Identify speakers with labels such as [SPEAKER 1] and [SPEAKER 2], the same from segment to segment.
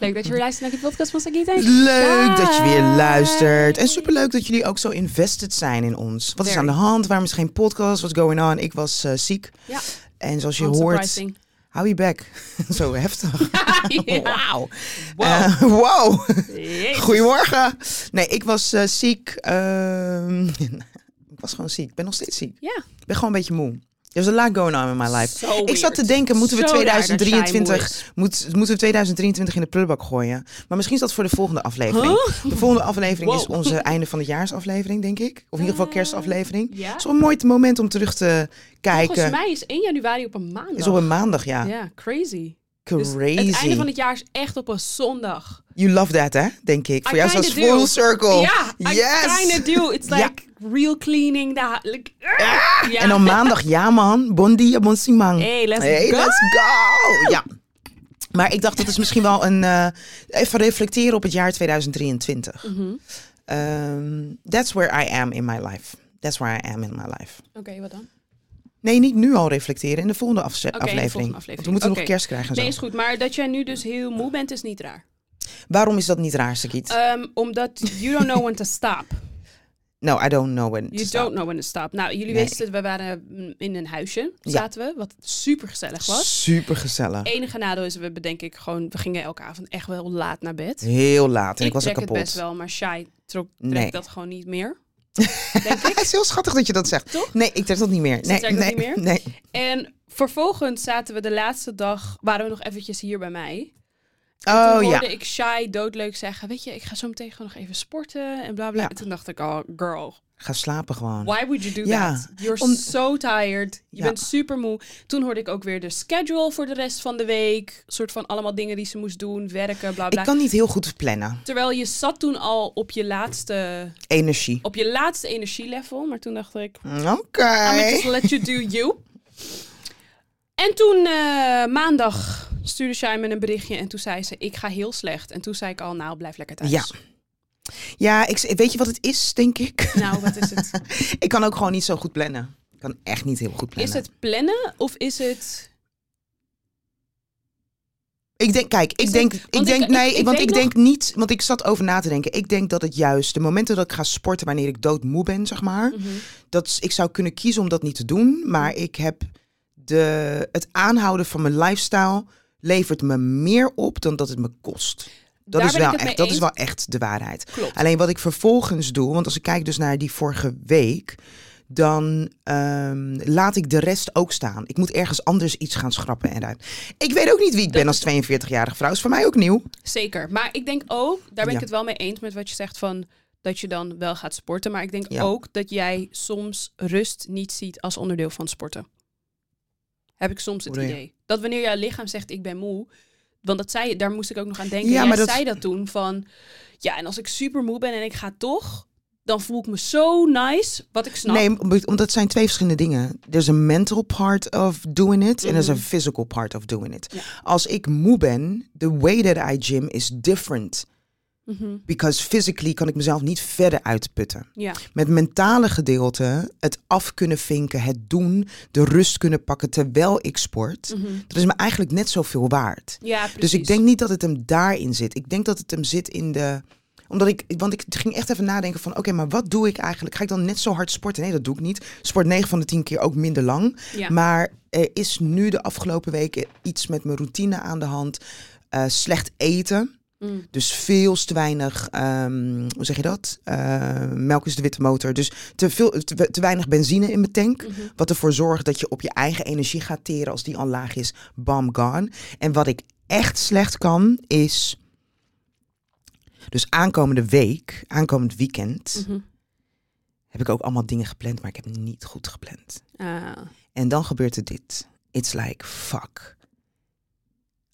[SPEAKER 1] Leuk dat je weer luistert naar de podcast van Sagita.
[SPEAKER 2] Leuk dat je weer luistert. En superleuk dat jullie ook zo invested zijn in ons. Wat is aan
[SPEAKER 1] Very.
[SPEAKER 2] de hand? Waarom is er geen podcast? What's going on? Ik was eh, ziek.
[SPEAKER 1] Ja.
[SPEAKER 2] En zoals je hoort,
[SPEAKER 1] Unsurprising.
[SPEAKER 2] hou je back. zo heftig.
[SPEAKER 1] Ja.
[SPEAKER 2] Wauw.
[SPEAKER 1] Wow.
[SPEAKER 2] Eh, wow.
[SPEAKER 1] Jezus.
[SPEAKER 2] Goedemorgen. Nee, ik was eh, ziek. Ehm, ik was gewoon ziek. Ik ben nog steeds ziek.
[SPEAKER 1] Ja.
[SPEAKER 2] Ik ben gewoon een beetje moe. There's a lot going on in my life.
[SPEAKER 1] Zo
[SPEAKER 2] ik
[SPEAKER 1] weird.
[SPEAKER 2] zat te denken, moeten we
[SPEAKER 1] Zo raar dat jij
[SPEAKER 2] 2023
[SPEAKER 1] moe is.
[SPEAKER 2] Moet, moeten we 2023 in de prullenbak gooien. Maar misschien is dat voor de volgende aflevering. De volgende aflevering
[SPEAKER 1] Wow.
[SPEAKER 2] is onze einde van het jaarsaflevering, denk ik. Of in ieder geval kerstaflevering.
[SPEAKER 1] ja.
[SPEAKER 2] Het is wel een mooi moment om terug te
[SPEAKER 1] Volgens
[SPEAKER 2] kijken.
[SPEAKER 1] mij is 1 januari op een maandag.
[SPEAKER 2] eh, is op een maandag, ja.
[SPEAKER 1] Ja, crazy. Dus
[SPEAKER 2] Crazy.
[SPEAKER 1] het einde van het jaar is echt op een zondag.
[SPEAKER 2] You love that, hè? Denk ik. Voor jou is
[SPEAKER 1] kinda
[SPEAKER 2] dat full
[SPEAKER 1] do.
[SPEAKER 2] circle.
[SPEAKER 1] Ja, I
[SPEAKER 2] yes.
[SPEAKER 1] kinda do. It's
[SPEAKER 2] Ja.
[SPEAKER 1] like real cleaning. The, like, ah, ja.
[SPEAKER 2] En dan maandag, ja man, bon dia, bon simang.
[SPEAKER 1] Hey, let's
[SPEAKER 2] Hey,
[SPEAKER 1] go.
[SPEAKER 2] let's go. Ja. Maar ik dacht, dat is misschien wel een... eh, even reflecteren op het jaar 2023. Ehm, that's where I am in my life. That's where I am in my life.
[SPEAKER 1] Oké, wat dan?
[SPEAKER 2] Nee, niet nu al reflecteren. In de volgende afze-
[SPEAKER 1] Oké, in de
[SPEAKER 2] aflevering.
[SPEAKER 1] volgende
[SPEAKER 2] Want
[SPEAKER 1] aflevering.
[SPEAKER 2] we moeten nog
[SPEAKER 1] Oké.
[SPEAKER 2] kerst krijgen en zo.
[SPEAKER 1] Nee, is goed. Maar dat jij nu dus heel moe bent, is niet raar.
[SPEAKER 2] Waarom is dat niet raar, Sakiet?
[SPEAKER 1] Ehm, omdat you don't know when to stop.
[SPEAKER 2] no, I don't know when
[SPEAKER 1] You don't know when to stop. Nou, jullie
[SPEAKER 2] Dus Nee.
[SPEAKER 1] wisten, we waren mm, in een huisje,
[SPEAKER 2] Ja.
[SPEAKER 1] zaten we, wat super gezellig was.
[SPEAKER 2] Super gezellig.
[SPEAKER 1] Enige nadeel is, we bedenk ik gewoon, we gingen elke avond echt wel laat naar bed.
[SPEAKER 2] Heel laat. En ik, was er
[SPEAKER 1] trek
[SPEAKER 2] kapot.
[SPEAKER 1] het best wel, maar Shai trok, trekt
[SPEAKER 2] Nee.
[SPEAKER 1] dat gewoon niet meer. Denk ik.
[SPEAKER 2] Het is heel schattig dat je dat zegt.
[SPEAKER 1] Toch?
[SPEAKER 2] Nee, ik trek dat niet meer. Nee,
[SPEAKER 1] trekt dat
[SPEAKER 2] nee,
[SPEAKER 1] niet meer?
[SPEAKER 2] Nee.
[SPEAKER 1] En vervolgens zaten we de laatste dag, waren we nog eventjes hier bij mij.
[SPEAKER 2] Oh
[SPEAKER 1] toen
[SPEAKER 2] ja.
[SPEAKER 1] hoorde ik Shai doodleuk zeggen, weet je, ik ga zo meteen gewoon nog even sporten en bla bla.
[SPEAKER 2] Ja.
[SPEAKER 1] En toen dacht ik, oh girl,
[SPEAKER 2] Ga slapen gewoon.
[SPEAKER 1] Why would you do
[SPEAKER 2] Ja,
[SPEAKER 1] that? You're
[SPEAKER 2] om-
[SPEAKER 1] so tired. Je
[SPEAKER 2] Ja.
[SPEAKER 1] bent super moe. Toen hoorde ik ook weer de schedule voor de rest van de week. soort van allemaal dingen die ze moest doen, werken, bla bla.
[SPEAKER 2] Ik kan niet heel goed plannen.
[SPEAKER 1] Terwijl je zat toen al op je laatste,
[SPEAKER 2] Energie.
[SPEAKER 1] op je laatste energielevel. Maar toen dacht ik,
[SPEAKER 2] Oké.
[SPEAKER 1] I'm gonna just let you do you. En toen eh, maandag stuurde Shai me een berichtje. En toen zei ze, ik ga heel slecht. En toen zei ik al, nou blijf lekker thuis.
[SPEAKER 2] Ja. Ja, ik, weet je wat het is, denk ik?
[SPEAKER 1] Nou, wat is het?
[SPEAKER 2] Ik kan ook gewoon niet zo goed plannen. Ik kan echt niet heel goed
[SPEAKER 1] Is
[SPEAKER 2] plannen.
[SPEAKER 1] het plannen of is het...
[SPEAKER 2] Ik denk, kijk, ik
[SPEAKER 1] het-
[SPEAKER 2] denk,
[SPEAKER 1] want
[SPEAKER 2] ik
[SPEAKER 1] ik-
[SPEAKER 2] denk,
[SPEAKER 1] ik-
[SPEAKER 2] nee,
[SPEAKER 1] ik
[SPEAKER 2] want
[SPEAKER 1] weet
[SPEAKER 2] ik
[SPEAKER 1] nog-
[SPEAKER 2] denk niet, want ik zat over na te denken. Ik denk dat het juist de momenten dat ik ga sporten wanneer ik doodmoe ben, zeg maar,
[SPEAKER 1] Mm. Mhm.
[SPEAKER 2] dat s- ik zou kunnen kiezen om dat niet te doen, maar ik heb de, het aanhouden van mijn lifestyle levert me meer op dan dat het me kost. Dat,
[SPEAKER 1] Daar
[SPEAKER 2] is
[SPEAKER 1] ben
[SPEAKER 2] wel,
[SPEAKER 1] ik het
[SPEAKER 2] echt,
[SPEAKER 1] mee
[SPEAKER 2] dat is
[SPEAKER 1] eens.
[SPEAKER 2] wel echt de waarheid.
[SPEAKER 1] Klopt.
[SPEAKER 2] Alleen wat ik vervolgens doe, want als ik kijk dus naar die vorige week, dan ehm, laat ik de rest ook staan. Ik moet ergens anders iets gaan schrappen en uit. Ik weet ook niet wie ik ben als 42-jarige vrouw. Is voor mij ook nieuw.
[SPEAKER 1] Zeker. Maar ik denk ook, daar ben
[SPEAKER 2] Ja.
[SPEAKER 1] ik het wel mee eens met wat je zegt van dat je dan wel gaat sporten. Maar ik denk
[SPEAKER 2] Ja.
[SPEAKER 1] ook dat jij soms rust niet ziet als onderdeel van sporten. Heb ik soms het
[SPEAKER 2] Hoe bedoel je?
[SPEAKER 1] idee. Dat wanneer jouw lichaam zegt ik ben moe. Want dat zei, daar moest ik ook nog aan denken.
[SPEAKER 2] Ja,
[SPEAKER 1] jij
[SPEAKER 2] maar dat-
[SPEAKER 1] zei dat toen van ja, en als ik super moe ben en ik ga toch, dan voel ik me zo nice. Wat ik snap.
[SPEAKER 2] Nee, om- omdat het zijn twee verschillende dingen. There's a mental part of doing it en there's a physical part of doing it. Als ik moe ben, the way that I gym is different. Because physically kan ik mezelf niet verder uitputten.
[SPEAKER 1] Mhm. Ja.
[SPEAKER 2] Met mentale gedeelte, het af kunnen vinken, het doen, de rust kunnen pakken terwijl ik sport, dat is me eigenlijk net zoveel waard.
[SPEAKER 1] Ja, Mhm. precies.
[SPEAKER 2] Dus ik denk niet dat het hem daarin zit. Ik denk dat het hem zit in de. Omdat ik, want ik ging echt even nadenken van, oké, maar wat doe ik eigenlijk? Ga ik dan net zo hard sporten? Nee, dat doe ik niet. Sport 9 van de 10 keer ook minder lang.
[SPEAKER 1] Ja.
[SPEAKER 2] Maar er is nu de afgelopen weken iets met mijn routine aan de hand. Eh, slecht eten.
[SPEAKER 1] Mm.
[SPEAKER 2] Dus veel te weinig, ehm, hoe zeg je dat? Eh, melk is de witte motor. Dus te, veel, te, we- te weinig benzine in mijn tank.
[SPEAKER 1] Mhm.
[SPEAKER 2] Wat ervoor zorgt dat je op je eigen energie gaat teren als die al laag is. Bam, gone. En wat ik echt slecht kan is... Dus aankomende week, aankomend weekend...
[SPEAKER 1] Mhm.
[SPEAKER 2] heb ik ook allemaal dingen gepland, maar ik heb niet goed gepland.
[SPEAKER 1] Ah,
[SPEAKER 2] En dan gebeurt er dit. It's like, fuck.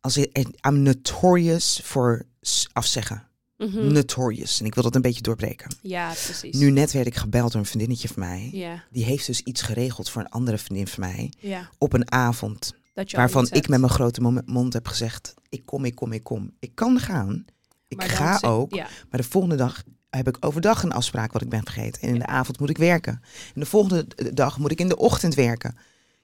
[SPEAKER 2] Als ik, en I'm notorious voor s- afzeggen.
[SPEAKER 1] Mm.
[SPEAKER 2] Notorious. En ik wil dat een beetje doorbreken.
[SPEAKER 1] Mhm. ja, precies.
[SPEAKER 2] Nu net werd ik gebeld door een vriendinnetje van mij.
[SPEAKER 1] Ja,
[SPEAKER 2] Die heeft dus iets geregeld voor een andere vriendin van mij.
[SPEAKER 1] ja.
[SPEAKER 2] Op een avond.
[SPEAKER 1] Dat je al
[SPEAKER 2] waarvan
[SPEAKER 1] iets
[SPEAKER 2] ik
[SPEAKER 1] hebt.
[SPEAKER 2] met mijn grote mom- mond heb gezegd. Ik kom, ik kom, ik kom. Ik kan gaan. Ik
[SPEAKER 1] Maar dan
[SPEAKER 2] ga
[SPEAKER 1] zit-
[SPEAKER 2] ook.
[SPEAKER 1] ja.
[SPEAKER 2] Maar de volgende dag heb ik overdag een afspraak wat ik ben vergeten. En in de avond moet ik werken. En de volgende d- dag moet ik in de ochtend werken.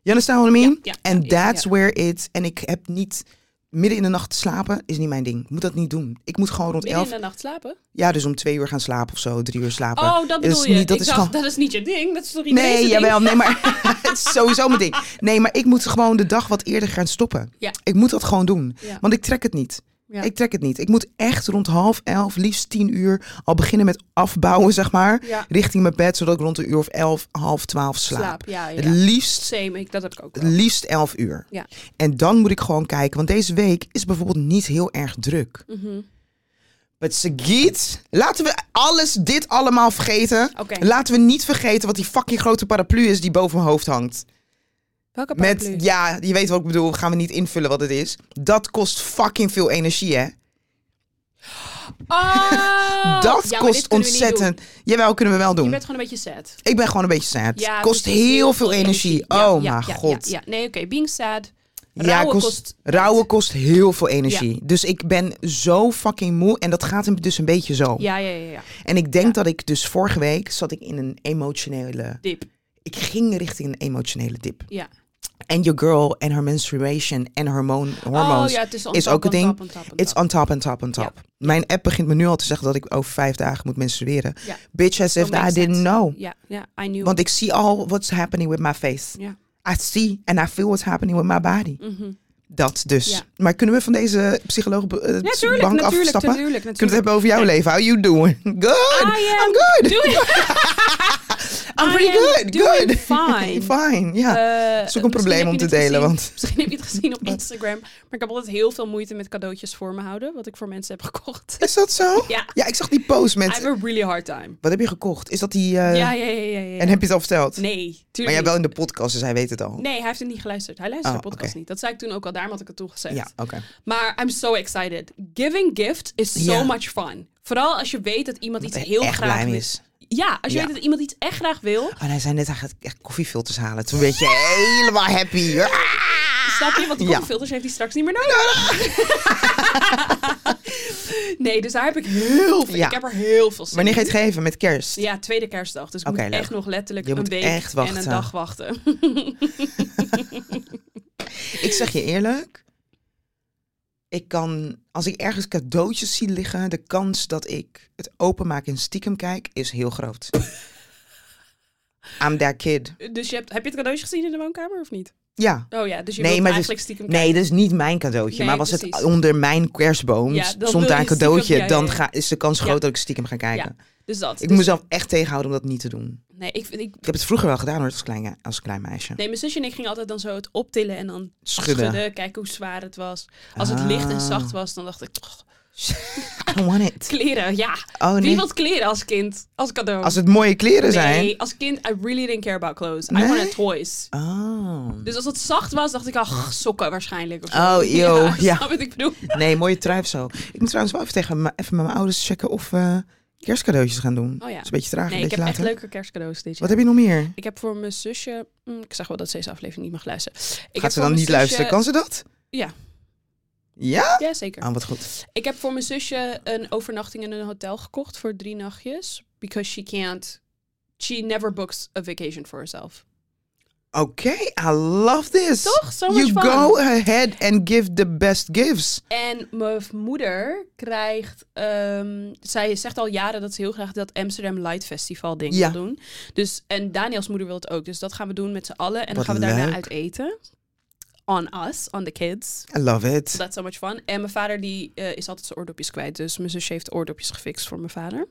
[SPEAKER 2] You understand what I mean?
[SPEAKER 1] Ja, ja,
[SPEAKER 2] And
[SPEAKER 1] ja, ja,
[SPEAKER 2] that's
[SPEAKER 1] ja.
[SPEAKER 2] where it... En ik heb niet midden in de nacht slapen is niet mijn ding. Ik moet dat niet doen. Ik moet gewoon rond
[SPEAKER 1] Midden in
[SPEAKER 2] elf.
[SPEAKER 1] de nacht slapen?
[SPEAKER 2] Ja, dus om twee uur gaan slapen of zo, drie uur slapen.
[SPEAKER 1] Oh, dat
[SPEAKER 2] is
[SPEAKER 1] bedoel je.
[SPEAKER 2] niet- dat
[SPEAKER 1] ik
[SPEAKER 2] is
[SPEAKER 1] dacht,
[SPEAKER 2] gewoon-
[SPEAKER 1] dat is niet je ding. Dat is toch iedereen
[SPEAKER 2] Nee,
[SPEAKER 1] zijn
[SPEAKER 2] jawel, nee, maar het is sowieso mijn ding. Nee, maar ik moet gewoon de dag wat eerder gaan stoppen.
[SPEAKER 1] Ja.
[SPEAKER 2] Ik moet dat gewoon doen,
[SPEAKER 1] Ja.
[SPEAKER 2] want ik trek het niet.
[SPEAKER 1] Ja.
[SPEAKER 2] Ik trek het niet. Ik moet echt rond half elf, liefst tien uur, al beginnen met afbouwen, zeg maar,
[SPEAKER 1] ding? Ja,
[SPEAKER 2] richting mijn bed, zodat ik rond een uur of elf, half twaalf slaap.
[SPEAKER 1] slaap. Ja,
[SPEAKER 2] Het
[SPEAKER 1] ja.
[SPEAKER 2] liefst,
[SPEAKER 1] Same, ik, dat heb ik ook
[SPEAKER 2] het
[SPEAKER 1] wel.
[SPEAKER 2] liefst elf uur.
[SPEAKER 1] Ja.
[SPEAKER 2] En dan moet ik gewoon kijken, want deze week is bijvoorbeeld niet heel erg druk.
[SPEAKER 1] Mhm.
[SPEAKER 2] But Sagiet, laten we alles, dit allemaal vergeten.
[SPEAKER 1] Oké,
[SPEAKER 2] Laten we niet vergeten wat die fucking grote paraplu is die boven mijn hoofd hangt.
[SPEAKER 1] welke
[SPEAKER 2] Met,
[SPEAKER 1] paraplu?
[SPEAKER 2] ja, je weet wat ik bedoel. Gaan we niet invullen wat het is. Dat kost fucking veel energie, hè?
[SPEAKER 1] Oh!
[SPEAKER 2] dat
[SPEAKER 1] Ja, maar dit
[SPEAKER 2] kost
[SPEAKER 1] kunnen we niet
[SPEAKER 2] ontzettend. Jawel, kunnen we wel
[SPEAKER 1] doen. Je
[SPEAKER 2] doen.
[SPEAKER 1] bent gewoon een beetje sad.
[SPEAKER 2] Ik ben gewoon een beetje sad.
[SPEAKER 1] Ja,
[SPEAKER 2] kost
[SPEAKER 1] precies.
[SPEAKER 2] heel veel energie.
[SPEAKER 1] Ja,
[SPEAKER 2] oh,
[SPEAKER 1] ja,
[SPEAKER 2] mijn
[SPEAKER 1] ja, ja,
[SPEAKER 2] god.
[SPEAKER 1] Ja, Nee, oké, being sad.
[SPEAKER 2] Ja,
[SPEAKER 1] Rouwen
[SPEAKER 2] kost-
[SPEAKER 1] kost...
[SPEAKER 2] Rauwen kost heel veel energie. Dus ik ben zo fucking moe. En dat gaat hem dus een beetje zo.
[SPEAKER 1] Ja, ja, ja, ja.
[SPEAKER 2] En ik denk
[SPEAKER 1] Ja.
[SPEAKER 2] dat ik dus vorige week zat ik in een emotionele...
[SPEAKER 1] Dip.
[SPEAKER 2] Ik ging richting een emotionele dip.
[SPEAKER 1] Ja.
[SPEAKER 2] En your girl en haar menstruation en hormoon, hormoons.
[SPEAKER 1] Oh ja, het is, on
[SPEAKER 2] is
[SPEAKER 1] top,
[SPEAKER 2] ook een
[SPEAKER 1] on
[SPEAKER 2] ding.
[SPEAKER 1] top, on top, on
[SPEAKER 2] It's
[SPEAKER 1] top.
[SPEAKER 2] on top, on top, on
[SPEAKER 1] Ja.
[SPEAKER 2] top. Mijn app begint me nu al te zeggen dat ik over vijf dagen moet menstrueren.
[SPEAKER 1] Ja.
[SPEAKER 2] Bitch as if
[SPEAKER 1] Don't make
[SPEAKER 2] I didn't
[SPEAKER 1] sense.
[SPEAKER 2] know.
[SPEAKER 1] Ja, ja, I knew.
[SPEAKER 2] Want ik zie al what's happening with my face.
[SPEAKER 1] Ja.
[SPEAKER 2] I see and I feel what's happening with my body.
[SPEAKER 1] Mhm.
[SPEAKER 2] Dat dus.
[SPEAKER 1] Ja.
[SPEAKER 2] Maar kunnen we van deze psycholoog eh,
[SPEAKER 1] Ja, tuurlijk,
[SPEAKER 2] bank
[SPEAKER 1] natuurlijk,
[SPEAKER 2] afstappen?
[SPEAKER 1] natuurlijk, natuurlijk.
[SPEAKER 2] Kunnen we het hebben over jouw leven? How you doing? Good.
[SPEAKER 1] I am
[SPEAKER 2] I'm good.
[SPEAKER 1] doing-
[SPEAKER 2] I'm
[SPEAKER 1] I
[SPEAKER 2] pretty
[SPEAKER 1] am
[SPEAKER 2] good.
[SPEAKER 1] doing
[SPEAKER 2] good.
[SPEAKER 1] fine.
[SPEAKER 2] fine. Ja.
[SPEAKER 1] Eh,
[SPEAKER 2] Het is ook
[SPEAKER 1] misschien
[SPEAKER 2] een probleem
[SPEAKER 1] heb
[SPEAKER 2] om
[SPEAKER 1] je
[SPEAKER 2] te
[SPEAKER 1] het
[SPEAKER 2] delen,
[SPEAKER 1] gezien-
[SPEAKER 2] want
[SPEAKER 1] Misschien heb je het gezien op Instagram. Maar ik heb altijd heel veel moeite met cadeautjes voor me houden. Wat ik voor mensen heb gekocht.
[SPEAKER 2] is dat zo?
[SPEAKER 1] Ja.
[SPEAKER 2] Ja, ik zag die post
[SPEAKER 1] I
[SPEAKER 2] met.
[SPEAKER 1] have a really hard time.
[SPEAKER 2] Wat heb je gekocht? Is dat die? eh,
[SPEAKER 1] ja, ja, ja, ja, ja.
[SPEAKER 2] En heb je het al verteld?
[SPEAKER 1] Nee, tuurlijk
[SPEAKER 2] maar jij
[SPEAKER 1] niet.
[SPEAKER 2] wel in de podcast, dus hij weet het al.
[SPEAKER 1] Nee, hij heeft het niet geluisterd. Hij luistert
[SPEAKER 2] Oh,
[SPEAKER 1] de podcast
[SPEAKER 2] oké.
[SPEAKER 1] niet. Dat zei ik toen ook al, daarom had ik het toen gezegd.
[SPEAKER 2] Ja, oké.
[SPEAKER 1] Maar I'm so excited. Giving gifts is so
[SPEAKER 2] Ja.
[SPEAKER 1] much fun. Vooral als je weet dat iemand iets
[SPEAKER 2] hij
[SPEAKER 1] heel
[SPEAKER 2] echt
[SPEAKER 1] graag
[SPEAKER 2] blij
[SPEAKER 1] wil.
[SPEAKER 2] is.
[SPEAKER 1] Ja, als je
[SPEAKER 2] Ja.
[SPEAKER 1] weet dat iemand iets echt graag wil.
[SPEAKER 2] Oh, en hij zei net, hij gaat echt koffiefilters halen. Toen werd je helemaal happy. Ah!
[SPEAKER 1] Snap je? Want de
[SPEAKER 2] Ja.
[SPEAKER 1] filters heeft hij straks niet meer nodig. nee, dus daar heb ik heel veel.
[SPEAKER 2] Ja.
[SPEAKER 1] Ik heb er heel veel zin
[SPEAKER 2] Wanneer ga
[SPEAKER 1] in.
[SPEAKER 2] je het geven? Met kerst?
[SPEAKER 1] Ja, tweede kerstdag. Dus ik
[SPEAKER 2] Oké,
[SPEAKER 1] moet
[SPEAKER 2] leuk.
[SPEAKER 1] echt nog letterlijk
[SPEAKER 2] Je
[SPEAKER 1] een
[SPEAKER 2] moet
[SPEAKER 1] week
[SPEAKER 2] echt
[SPEAKER 1] en een
[SPEAKER 2] wachten.
[SPEAKER 1] dag wachten.
[SPEAKER 2] Ik zeg je eerlijk. Ik kan, als ik ergens cadeautjes zie liggen, de kans dat ik het openmaak en stiekem kijk, is heel groot. I'm that kid.
[SPEAKER 1] dus je hebt, heb je het cadeautje gezien in de woonkamer of niet?
[SPEAKER 2] Ja.
[SPEAKER 1] Oh ja, dus je
[SPEAKER 2] Nee,
[SPEAKER 1] wilt
[SPEAKER 2] maar dus-
[SPEAKER 1] eigenlijk stiekem
[SPEAKER 2] Nee, dat is niet mijn cadeautje.
[SPEAKER 1] Nee,
[SPEAKER 2] maar was het
[SPEAKER 1] precies.
[SPEAKER 2] onder mijn kerstboom,
[SPEAKER 1] Ja, dan wil
[SPEAKER 2] stond daar
[SPEAKER 1] je
[SPEAKER 2] een cadeautje,
[SPEAKER 1] stiekem- ja, ja,
[SPEAKER 2] dan
[SPEAKER 1] ja.
[SPEAKER 2] ga, is de kans
[SPEAKER 1] Ja.
[SPEAKER 2] groot dat ik stiekem ga kijken.
[SPEAKER 1] Dus dat.
[SPEAKER 2] Ik
[SPEAKER 1] Dus-
[SPEAKER 2] moet mezelf echt tegenhouden om dat niet te doen.
[SPEAKER 1] Nee, ik, vind- ik,
[SPEAKER 2] Ik heb het vroeger wel gedaan hoor, als klein, als klein meisje.
[SPEAKER 1] nee, mijn zusje en ik gingen altijd dan zo het optillen en dan schudden.
[SPEAKER 2] Schudden. Ah.
[SPEAKER 1] kijken hoe zwaar het was. Als het licht en zacht was, dan dacht ik... "Oh,
[SPEAKER 2] I don't want it.
[SPEAKER 1] kleren, ja.
[SPEAKER 2] Oh
[SPEAKER 1] Wie
[SPEAKER 2] nee.
[SPEAKER 1] wil kleren als kind? Als cadeau?
[SPEAKER 2] Als het mooie kleren zijn.
[SPEAKER 1] Nee, als kind, I really didn't care about clothes. I
[SPEAKER 2] Nee?
[SPEAKER 1] wanted toys.
[SPEAKER 2] Oh.
[SPEAKER 1] Dus als het zacht was, dacht ik al, "Gh, sokken waarschijnlijk. Of zo.
[SPEAKER 2] Oh, eeuw,
[SPEAKER 1] Ja,
[SPEAKER 2] ja.
[SPEAKER 1] snap wat ik bedoel?
[SPEAKER 2] Nee, mooie trui of zo. Ik moet trouwens wel even tegen me- even met mijn ouders checken of we kerstcadeautjes gaan doen.
[SPEAKER 1] Oh ja.
[SPEAKER 2] Dat is een beetje traag,
[SPEAKER 1] Nee,
[SPEAKER 2] een
[SPEAKER 1] ik heb
[SPEAKER 2] beetje
[SPEAKER 1] echt
[SPEAKER 2] later.
[SPEAKER 1] leuke kerstcadeaus dit jaar.
[SPEAKER 2] Wat heb je nog meer?
[SPEAKER 1] Ik heb voor mijn zusje... mm, ik zeg wel dat ze deze aflevering niet mag luisteren. Ik heb voor
[SPEAKER 2] Gaat ze
[SPEAKER 1] mijn
[SPEAKER 2] dan niet
[SPEAKER 1] zusje-
[SPEAKER 2] luisteren? Kan ze dat?
[SPEAKER 1] Ja.
[SPEAKER 2] Ja?
[SPEAKER 1] Ja, zeker.
[SPEAKER 2] Oh, wat goed.
[SPEAKER 1] Ik heb voor mijn zusje een overnachting in een hotel gekocht voor drie nachtjes. Because she can't... She never books a vacation for herself.
[SPEAKER 2] Oké, I love this.
[SPEAKER 1] Toch? So much
[SPEAKER 2] you
[SPEAKER 1] fun.
[SPEAKER 2] go ahead and give the best gifts.
[SPEAKER 1] En mijn moeder krijgt... ehm, zij zegt al jaren dat ze heel graag dat Amsterdam Light Festival ding
[SPEAKER 2] Ja.
[SPEAKER 1] wil doen. Dus, en Daniels moeder wil het ook. Dus dat gaan we doen met z'n allen. En dan
[SPEAKER 2] Wat
[SPEAKER 1] gaan we daarna
[SPEAKER 2] leuk.
[SPEAKER 1] uit eten. On us, on the kids.
[SPEAKER 2] I love it.
[SPEAKER 1] That's so much fun. En mijn vader die, eh, is altijd zijn oordopjes kwijt. Dus mijn zusje heeft oordopjes gefixt voor mijn vader.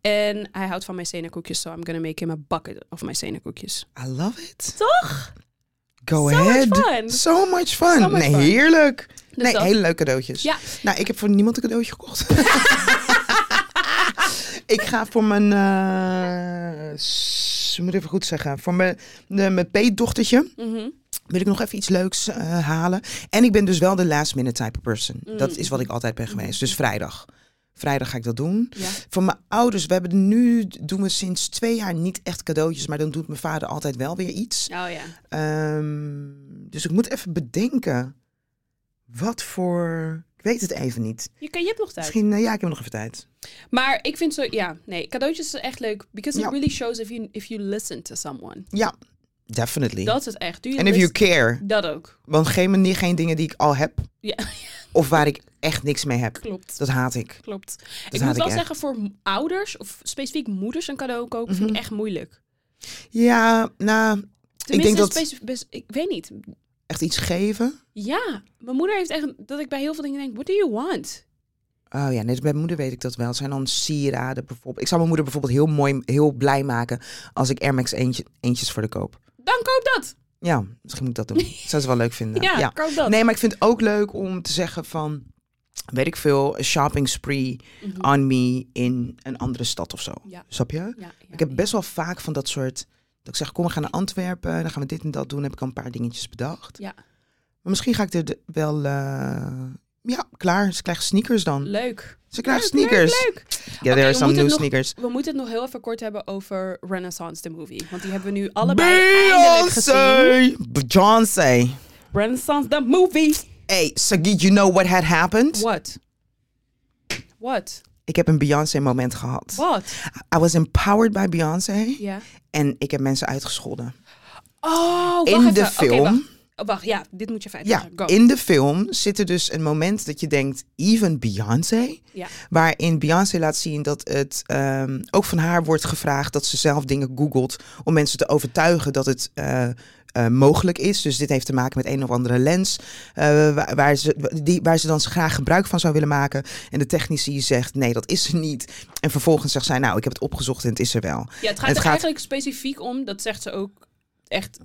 [SPEAKER 1] En hij houdt van mijn senakoekjes. So I'm gonna make him a bucket of mijn senakoekjes.
[SPEAKER 2] I love it.
[SPEAKER 1] Toch?
[SPEAKER 2] Go
[SPEAKER 1] So much
[SPEAKER 2] ahead.
[SPEAKER 1] fun.
[SPEAKER 2] So much fun.
[SPEAKER 1] So much
[SPEAKER 2] nee,
[SPEAKER 1] fun.
[SPEAKER 2] heerlijk.
[SPEAKER 1] Dus
[SPEAKER 2] nee,
[SPEAKER 1] dat.
[SPEAKER 2] hele leuke cadeautjes.
[SPEAKER 1] Ja.
[SPEAKER 2] Nou, ik heb voor niemand een cadeautje gekocht. ik ga voor mijn, eh s- ik moet even goed zeggen, voor mijn, de- mijn peetdochtertje
[SPEAKER 1] Mhm.
[SPEAKER 2] wil ik nog even iets leuks eh, halen. En ik ben dus wel de last minute type person.
[SPEAKER 1] Mm.
[SPEAKER 2] Dat is wat ik altijd ben geweest. Dus vrijdag. Vrijdag ga ik dat doen.
[SPEAKER 1] Ja.
[SPEAKER 2] Voor mijn ouders, we hebben nu, doen we sinds twee jaar niet echt cadeautjes, maar dan doet mijn vader altijd wel weer iets.
[SPEAKER 1] Oh ja.
[SPEAKER 2] Ehm, dus ik moet even bedenken. Wat voor. Ik weet het even niet.
[SPEAKER 1] Je, kan, je hebt nog tijd.
[SPEAKER 2] Misschien, eh, ja, ik heb nog even tijd.
[SPEAKER 1] Maar ik vind zo, ja, nee, cadeautjes is echt leuk. Because it
[SPEAKER 2] Ja.
[SPEAKER 1] really shows if you, if you listen to someone.
[SPEAKER 2] Ja, definitely.
[SPEAKER 1] Dat is het echt. Do you
[SPEAKER 2] En if you
[SPEAKER 1] listen-
[SPEAKER 2] care.
[SPEAKER 1] Dat ook.
[SPEAKER 2] Want geen, manier, geen dingen die ik al heb.
[SPEAKER 1] Ja.
[SPEAKER 2] Of waar ik echt niks mee heb.
[SPEAKER 1] Klopt.
[SPEAKER 2] Dat haat ik.
[SPEAKER 1] Klopt. ik
[SPEAKER 2] haat
[SPEAKER 1] moet
[SPEAKER 2] ik
[SPEAKER 1] wel
[SPEAKER 2] echt.
[SPEAKER 1] zeggen, voor m- ouders, of specifiek moeders een cadeau kopen, vind
[SPEAKER 2] Mhm.
[SPEAKER 1] ik echt moeilijk.
[SPEAKER 2] Ja, nou,
[SPEAKER 1] Tenminste,
[SPEAKER 2] dat-
[SPEAKER 1] specif- best- ik weet niet.
[SPEAKER 2] echt iets geven.
[SPEAKER 1] Ja, mijn moeder heeft echt, dat ik bij heel veel dingen denk, what do you want?
[SPEAKER 2] Oh ja, net bij mijn moeder weet ik dat wel. Het zijn dan sieraden bijvoorbeeld. Ik zou mijn moeder bijvoorbeeld heel mooi, heel blij maken als ik Air Max eentje, eentjes voor de koop.
[SPEAKER 1] Dan koop dat.
[SPEAKER 2] Ja, misschien moet ik dat doen. Zou ze wel leuk vinden.
[SPEAKER 1] Ja, koop dat.
[SPEAKER 2] Nee, maar ik vind het ook leuk om te zeggen van, weet ik veel, een shopping spree
[SPEAKER 1] Mhm.
[SPEAKER 2] on me in een andere stad of zo.
[SPEAKER 1] Ja.
[SPEAKER 2] Snap je?
[SPEAKER 1] Ja, ja,
[SPEAKER 2] Ik heb
[SPEAKER 1] ja.
[SPEAKER 2] best wel vaak van dat soort, dat ik zeg, kom we gaan naar Antwerpen, dan gaan we dit en dat doen. heb ik al een paar dingetjes bedacht.
[SPEAKER 1] Ja.
[SPEAKER 2] Maar misschien ga ik er de- wel, eh, ja, klaar. Ze krijgen sneakers dan.
[SPEAKER 1] Leuk.
[SPEAKER 2] Ze krijgen
[SPEAKER 1] Leuk, leuk,
[SPEAKER 2] sneakers.
[SPEAKER 1] leuk.
[SPEAKER 2] Ja,
[SPEAKER 1] Oké,
[SPEAKER 2] there are
[SPEAKER 1] we
[SPEAKER 2] some
[SPEAKER 1] moeten
[SPEAKER 2] new
[SPEAKER 1] nog-
[SPEAKER 2] sneakers.
[SPEAKER 1] We moeten het nog heel even kort hebben over Renaissance, de movie. Want die hebben we nu allebei eindelijk gezien.
[SPEAKER 2] Beyoncé! Beyoncé!
[SPEAKER 1] Renaissance, the movie.
[SPEAKER 2] Hey, Sagit, you know what had happened?
[SPEAKER 1] What? What?
[SPEAKER 2] Ik heb een Beyoncé moment gehad.
[SPEAKER 1] What?
[SPEAKER 2] I was empowered by Beyoncé.
[SPEAKER 1] Ja.
[SPEAKER 2] En ik heb mensen uitgescholden.
[SPEAKER 1] Oh, wacht
[SPEAKER 2] in de
[SPEAKER 1] even. Oké,
[SPEAKER 2] film.
[SPEAKER 1] wacht. Oh, wacht, ja, dit moet je feit
[SPEAKER 2] ja,
[SPEAKER 1] zeggen. Go.
[SPEAKER 2] in de film zit er dus een moment dat je denkt, even Beyoncé?
[SPEAKER 1] Ja.
[SPEAKER 2] Waarin Beyoncé laat zien dat het ehm, ook van haar wordt gevraagd dat ze zelf dingen googelt om mensen te overtuigen dat het eh, eh, mogelijk is. Dus dit heeft te maken met een of andere lens eh, waar, waar ze, die, waar ze dan graag gebruik van zou willen maken. En de technici zegt nee, dat is er niet. En vervolgens zegt zij, nou, ik heb het opgezocht en het is er wel.
[SPEAKER 1] Ja, het gaat
[SPEAKER 2] Het
[SPEAKER 1] er
[SPEAKER 2] gaat-
[SPEAKER 1] eigenlijk specifiek om, dat zegt ze ook echt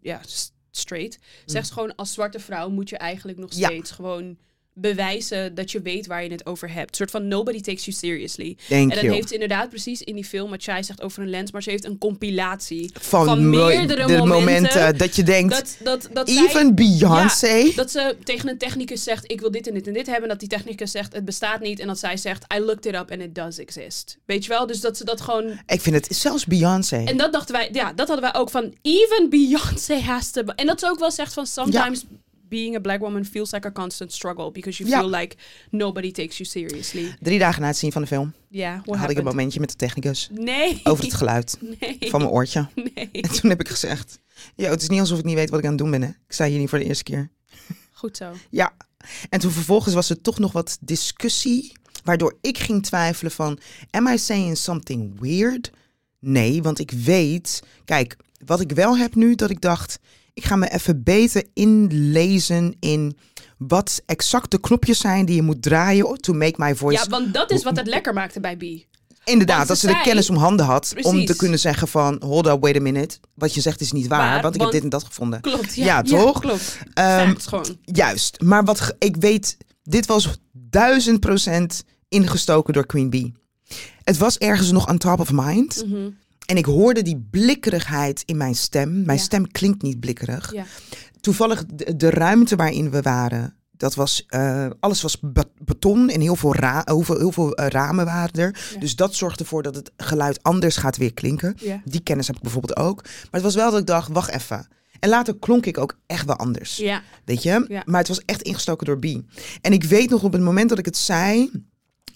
[SPEAKER 1] ja, s- straight. Zegt ze gewoon, als zwarte vrouw moet je eigenlijk nog
[SPEAKER 2] Mm. Ja.
[SPEAKER 1] steeds gewoon bewijzen dat je weet waar je het over hebt. Een soort van nobody takes you seriously.
[SPEAKER 2] Thank
[SPEAKER 1] en dat
[SPEAKER 2] you.
[SPEAKER 1] heeft ze inderdaad precies in die film, wat jij zegt over een lens, maar ze heeft een compilatie
[SPEAKER 2] Van, mo-
[SPEAKER 1] meerdere
[SPEAKER 2] de
[SPEAKER 1] momenten,
[SPEAKER 2] dat je denkt,
[SPEAKER 1] Dat, dat, dat zij-
[SPEAKER 2] even Beyoncé?
[SPEAKER 1] Ja, dat ze tegen een technicus zegt, ik wil dit en dit en dit hebben. En dat die technicus zegt, het bestaat niet. En dat zij zegt, I looked it up and it does exist. Weet je wel? Dus dat ze dat gewoon
[SPEAKER 2] Ik vind het zelfs Beyoncé.
[SPEAKER 1] En dat dachten wij, ja, dat hadden wij ook van. Even Beyoncé has to. En dat ze ook wel zegt van. Sometimes being a black woman feels like a constant struggle. Because you
[SPEAKER 2] Ja.
[SPEAKER 1] feel like nobody takes you seriously. Ja,
[SPEAKER 2] Drie dagen na het zien van de film
[SPEAKER 1] yeah, what
[SPEAKER 2] had ik een
[SPEAKER 1] happened?
[SPEAKER 2] momentje met de technicus
[SPEAKER 1] Nee.
[SPEAKER 2] over het geluid
[SPEAKER 1] Nee.
[SPEAKER 2] van mijn oortje.
[SPEAKER 1] nee.
[SPEAKER 2] En toen heb ik gezegd, "Yo, het is niet alsof ik niet weet wat ik aan het doen ben. Hè. Ik sta hier niet voor de eerste keer.
[SPEAKER 1] Goed zo.
[SPEAKER 2] Ja. En toen vervolgens was er toch nog wat discussie, waardoor ik ging twijfelen van, am I saying something weird? Nee, want ik weet, kijk, wat ik wel heb nu, dat ik dacht, ik ga me even beter inlezen in wat exact de knopjes zijn die je moet draaien to make my voice
[SPEAKER 1] Ja, want dat is wat het lekker maakte bij B.
[SPEAKER 2] Inderdaad,
[SPEAKER 1] Want
[SPEAKER 2] dat
[SPEAKER 1] ze
[SPEAKER 2] ze de
[SPEAKER 1] zei-
[SPEAKER 2] kennis om handen had om te
[SPEAKER 1] Precies.
[SPEAKER 2] kunnen zeggen van... hold up, wait a minute. Wat je zegt is niet waar,
[SPEAKER 1] Waar,
[SPEAKER 2] want ik
[SPEAKER 1] want-
[SPEAKER 2] heb dit en dat gevonden.
[SPEAKER 1] Klopt. Ja,
[SPEAKER 2] Ja, toch?
[SPEAKER 1] klopt.
[SPEAKER 2] Ehm,
[SPEAKER 1] Facts gewoon.
[SPEAKER 2] Juist, maar wat ge- ik weet... dit was duizend procent ingestoken door Queen Bee. Het was ergens nog on top of mind.
[SPEAKER 1] Mhm.
[SPEAKER 2] En ik hoorde die blikkerigheid in mijn stem. Mijn
[SPEAKER 1] Ja.
[SPEAKER 2] stem klinkt niet blikkerig.
[SPEAKER 1] Ja.
[SPEAKER 2] Toevallig de, de ruimte waarin we waren... Dat was, eh, alles was be- beton en heel veel, ra- heel veel, heel veel eh, ramen waren er.
[SPEAKER 1] Ja.
[SPEAKER 2] Dus dat zorgt ervoor dat het geluid anders gaat weer klinken.
[SPEAKER 1] Ja.
[SPEAKER 2] Die kennis heb ik bijvoorbeeld ook. Maar het was wel dat ik dacht, wacht even. En later klonk ik ook echt wel anders.
[SPEAKER 1] Ja.
[SPEAKER 2] Weet je?
[SPEAKER 1] Ja.
[SPEAKER 2] Maar het was echt ingestoken door B. En ik weet nog op het moment dat ik het zei...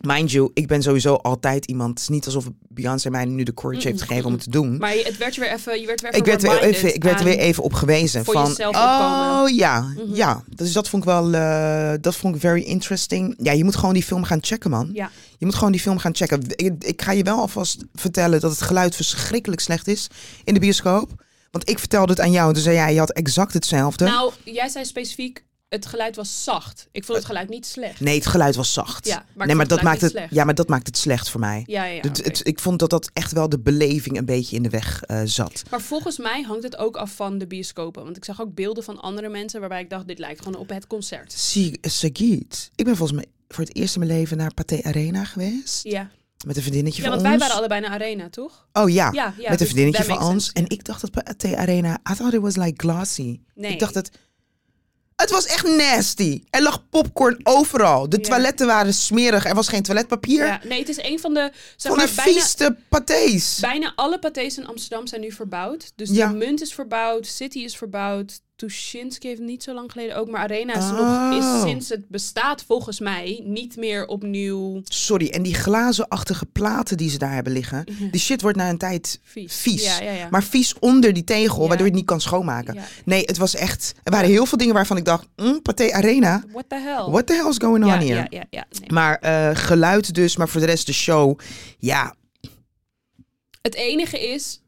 [SPEAKER 2] Mind you, ik ben sowieso altijd iemand... Het is niet alsof Beyoncé mij nu de courage heeft gegeven om het te doen.
[SPEAKER 1] Maar je- het werd je weer even. Je werd weer even
[SPEAKER 2] ik werd, weer
[SPEAKER 1] reminded
[SPEAKER 2] even, ik werd er
[SPEAKER 1] aan-
[SPEAKER 2] weer even op gewezen.
[SPEAKER 1] voor
[SPEAKER 2] Van,
[SPEAKER 1] jezelf opkomen. Mhm.
[SPEAKER 2] oh ja, ja. Dus dat vond ik wel... eh, dat vond ik very interesting. Ja, je moet gewoon die film gaan checken, man.
[SPEAKER 1] Ja.
[SPEAKER 2] Je moet gewoon die film gaan checken. Ik, ik ga je wel alvast vertellen dat het geluid verschrikkelijk slecht is in de bioscoop. Want ik vertelde het aan jou. en Toen zei jij, je had exact hetzelfde.
[SPEAKER 1] Nou, jij zei specifiek, het geluid was zacht. Ik vond het geluid niet slecht.
[SPEAKER 2] Eh, Nee, het geluid was zacht.
[SPEAKER 1] Ja, maar ik
[SPEAKER 2] nee,
[SPEAKER 1] vond
[SPEAKER 2] maar
[SPEAKER 1] het
[SPEAKER 2] dat
[SPEAKER 1] geluid
[SPEAKER 2] maakt
[SPEAKER 1] niet
[SPEAKER 2] het,
[SPEAKER 1] slecht.
[SPEAKER 2] ja, maar dat maakt het slecht voor mij.
[SPEAKER 1] Ja, ja, ja.
[SPEAKER 2] Het-
[SPEAKER 1] oké.
[SPEAKER 2] het- ik vond dat dat echt wel de beleving een beetje in de weg eh, zat.
[SPEAKER 1] Maar volgens mij hangt het ook af van de bioscopen. Want ik zag ook beelden van andere mensen waarbij ik dacht, dit lijkt gewoon op het concert.
[SPEAKER 2] Zie- Sagiet, ik ben volgens mij voor het eerst in mijn leven naar Pathé Arena geweest.
[SPEAKER 1] Ja,
[SPEAKER 2] Met een vriendinnetje
[SPEAKER 1] ja
[SPEAKER 2] van
[SPEAKER 1] want
[SPEAKER 2] ons.
[SPEAKER 1] wij waren allebei naar Arena, toch?
[SPEAKER 2] Oh ja,
[SPEAKER 1] Ja, ja,
[SPEAKER 2] met een
[SPEAKER 1] dus
[SPEAKER 2] vriendinnetje
[SPEAKER 1] that
[SPEAKER 2] van
[SPEAKER 1] makes
[SPEAKER 2] ons.
[SPEAKER 1] sense,
[SPEAKER 2] En ik dacht dat Pathé Arena, I thought it was like glossy.
[SPEAKER 1] Nee.
[SPEAKER 2] Ik dacht dat... Het was echt nasty. Er lag popcorn overal. De
[SPEAKER 1] Ja.
[SPEAKER 2] toiletten waren smerig. Er was geen toiletpapier.
[SPEAKER 1] Ja, nee, het is een van de... Zeg
[SPEAKER 2] Van de
[SPEAKER 1] maar, bijna,
[SPEAKER 2] vieste pathés.
[SPEAKER 1] bijna alle pathés in Amsterdam zijn nu verbouwd. Dus
[SPEAKER 2] Ja.
[SPEAKER 1] de Munt is verbouwd, City is verbouwd, Tuschinski heeft niet zo lang geleden ook, maar Arena is,
[SPEAKER 2] Oh.
[SPEAKER 1] nog, is sinds het bestaat volgens mij niet meer opnieuw
[SPEAKER 2] Sorry, en die glazenachtige platen die ze daar hebben liggen. Die shit wordt na een tijd
[SPEAKER 1] Mhm. vies.
[SPEAKER 2] vies.
[SPEAKER 1] Ja, ja, ja.
[SPEAKER 2] Maar vies onder die tegel,
[SPEAKER 1] Ja.
[SPEAKER 2] waardoor je het niet kan schoonmaken.
[SPEAKER 1] Ja.
[SPEAKER 2] Nee, het was echt... Er waren heel veel dingen waarvan ik dacht... Mm, Pathé Arena,
[SPEAKER 1] What the hell?
[SPEAKER 2] what the hell is going on
[SPEAKER 1] ja,
[SPEAKER 2] here?
[SPEAKER 1] ja, ja, ja, nee.
[SPEAKER 2] Maar eh, geluid dus, maar voor de rest de show. Ja,
[SPEAKER 1] Het enige is,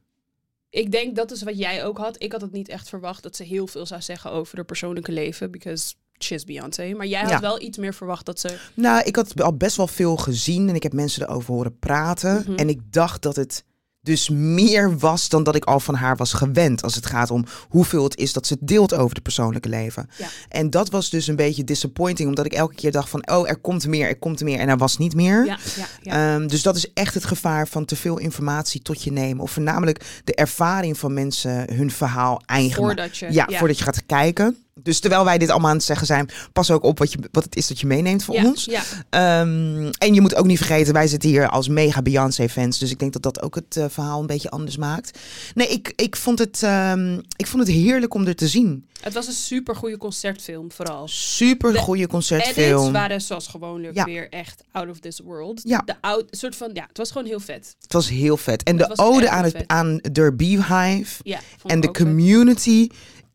[SPEAKER 1] ik denk dat is wat jij ook had. Ik had het niet echt verwacht dat ze heel veel zou zeggen over haar persoonlijke leven. Because she's Beyoncé. Maar jij had
[SPEAKER 2] Ja.
[SPEAKER 1] wel iets meer verwacht dat ze...
[SPEAKER 2] nou, ik had al best wel veel gezien en ik heb mensen erover horen praten.
[SPEAKER 1] Mhm.
[SPEAKER 2] En ik dacht dat het dus meer was dan dat ik al van haar was gewend. Als het gaat om hoeveel het is dat ze deelt over het persoonlijke leven.
[SPEAKER 1] Ja.
[SPEAKER 2] En dat was dus een beetje disappointing, omdat ik elke keer dacht van, oh, er komt meer, er komt meer. En er was niet meer.
[SPEAKER 1] Ja, ja, ja.
[SPEAKER 2] Ehm, dus dat is echt het gevaar van te veel informatie tot je nemen. Of voornamelijk de ervaring van mensen hun verhaal eigen maken.
[SPEAKER 1] voordat je...
[SPEAKER 2] Ja, voordat je gaat kijken. Dus terwijl wij dit allemaal aan het zeggen zijn, pas ook op wat, je, wat het is dat je meeneemt voor
[SPEAKER 1] ja,
[SPEAKER 2] ons.
[SPEAKER 1] Ja,
[SPEAKER 2] Ehm, en je moet ook niet vergeten, wij zitten hier als mega Beyoncé-fans. Dus ik denk dat dat ook het eh, verhaal een beetje anders maakt. Nee, ik, ik, vond het, ehm, ik vond het heerlijk om er te zien.
[SPEAKER 1] het was een super goede concertfilm vooral.
[SPEAKER 2] Super goede
[SPEAKER 1] Edits
[SPEAKER 2] concertfilm.
[SPEAKER 1] waren zoals gewoonlijk
[SPEAKER 2] Ja.
[SPEAKER 1] weer echt out of this world.
[SPEAKER 2] Ja.
[SPEAKER 1] De oud, soort van, ja, het was gewoon heel vet.
[SPEAKER 2] Het was heel vet. En
[SPEAKER 1] Het
[SPEAKER 2] de
[SPEAKER 1] was
[SPEAKER 2] ode
[SPEAKER 1] echt
[SPEAKER 2] aan,
[SPEAKER 1] heel
[SPEAKER 2] het,
[SPEAKER 1] vet.
[SPEAKER 2] aan de Beehive
[SPEAKER 1] Ja, vond
[SPEAKER 2] en
[SPEAKER 1] ik
[SPEAKER 2] de
[SPEAKER 1] ook vet.
[SPEAKER 2] community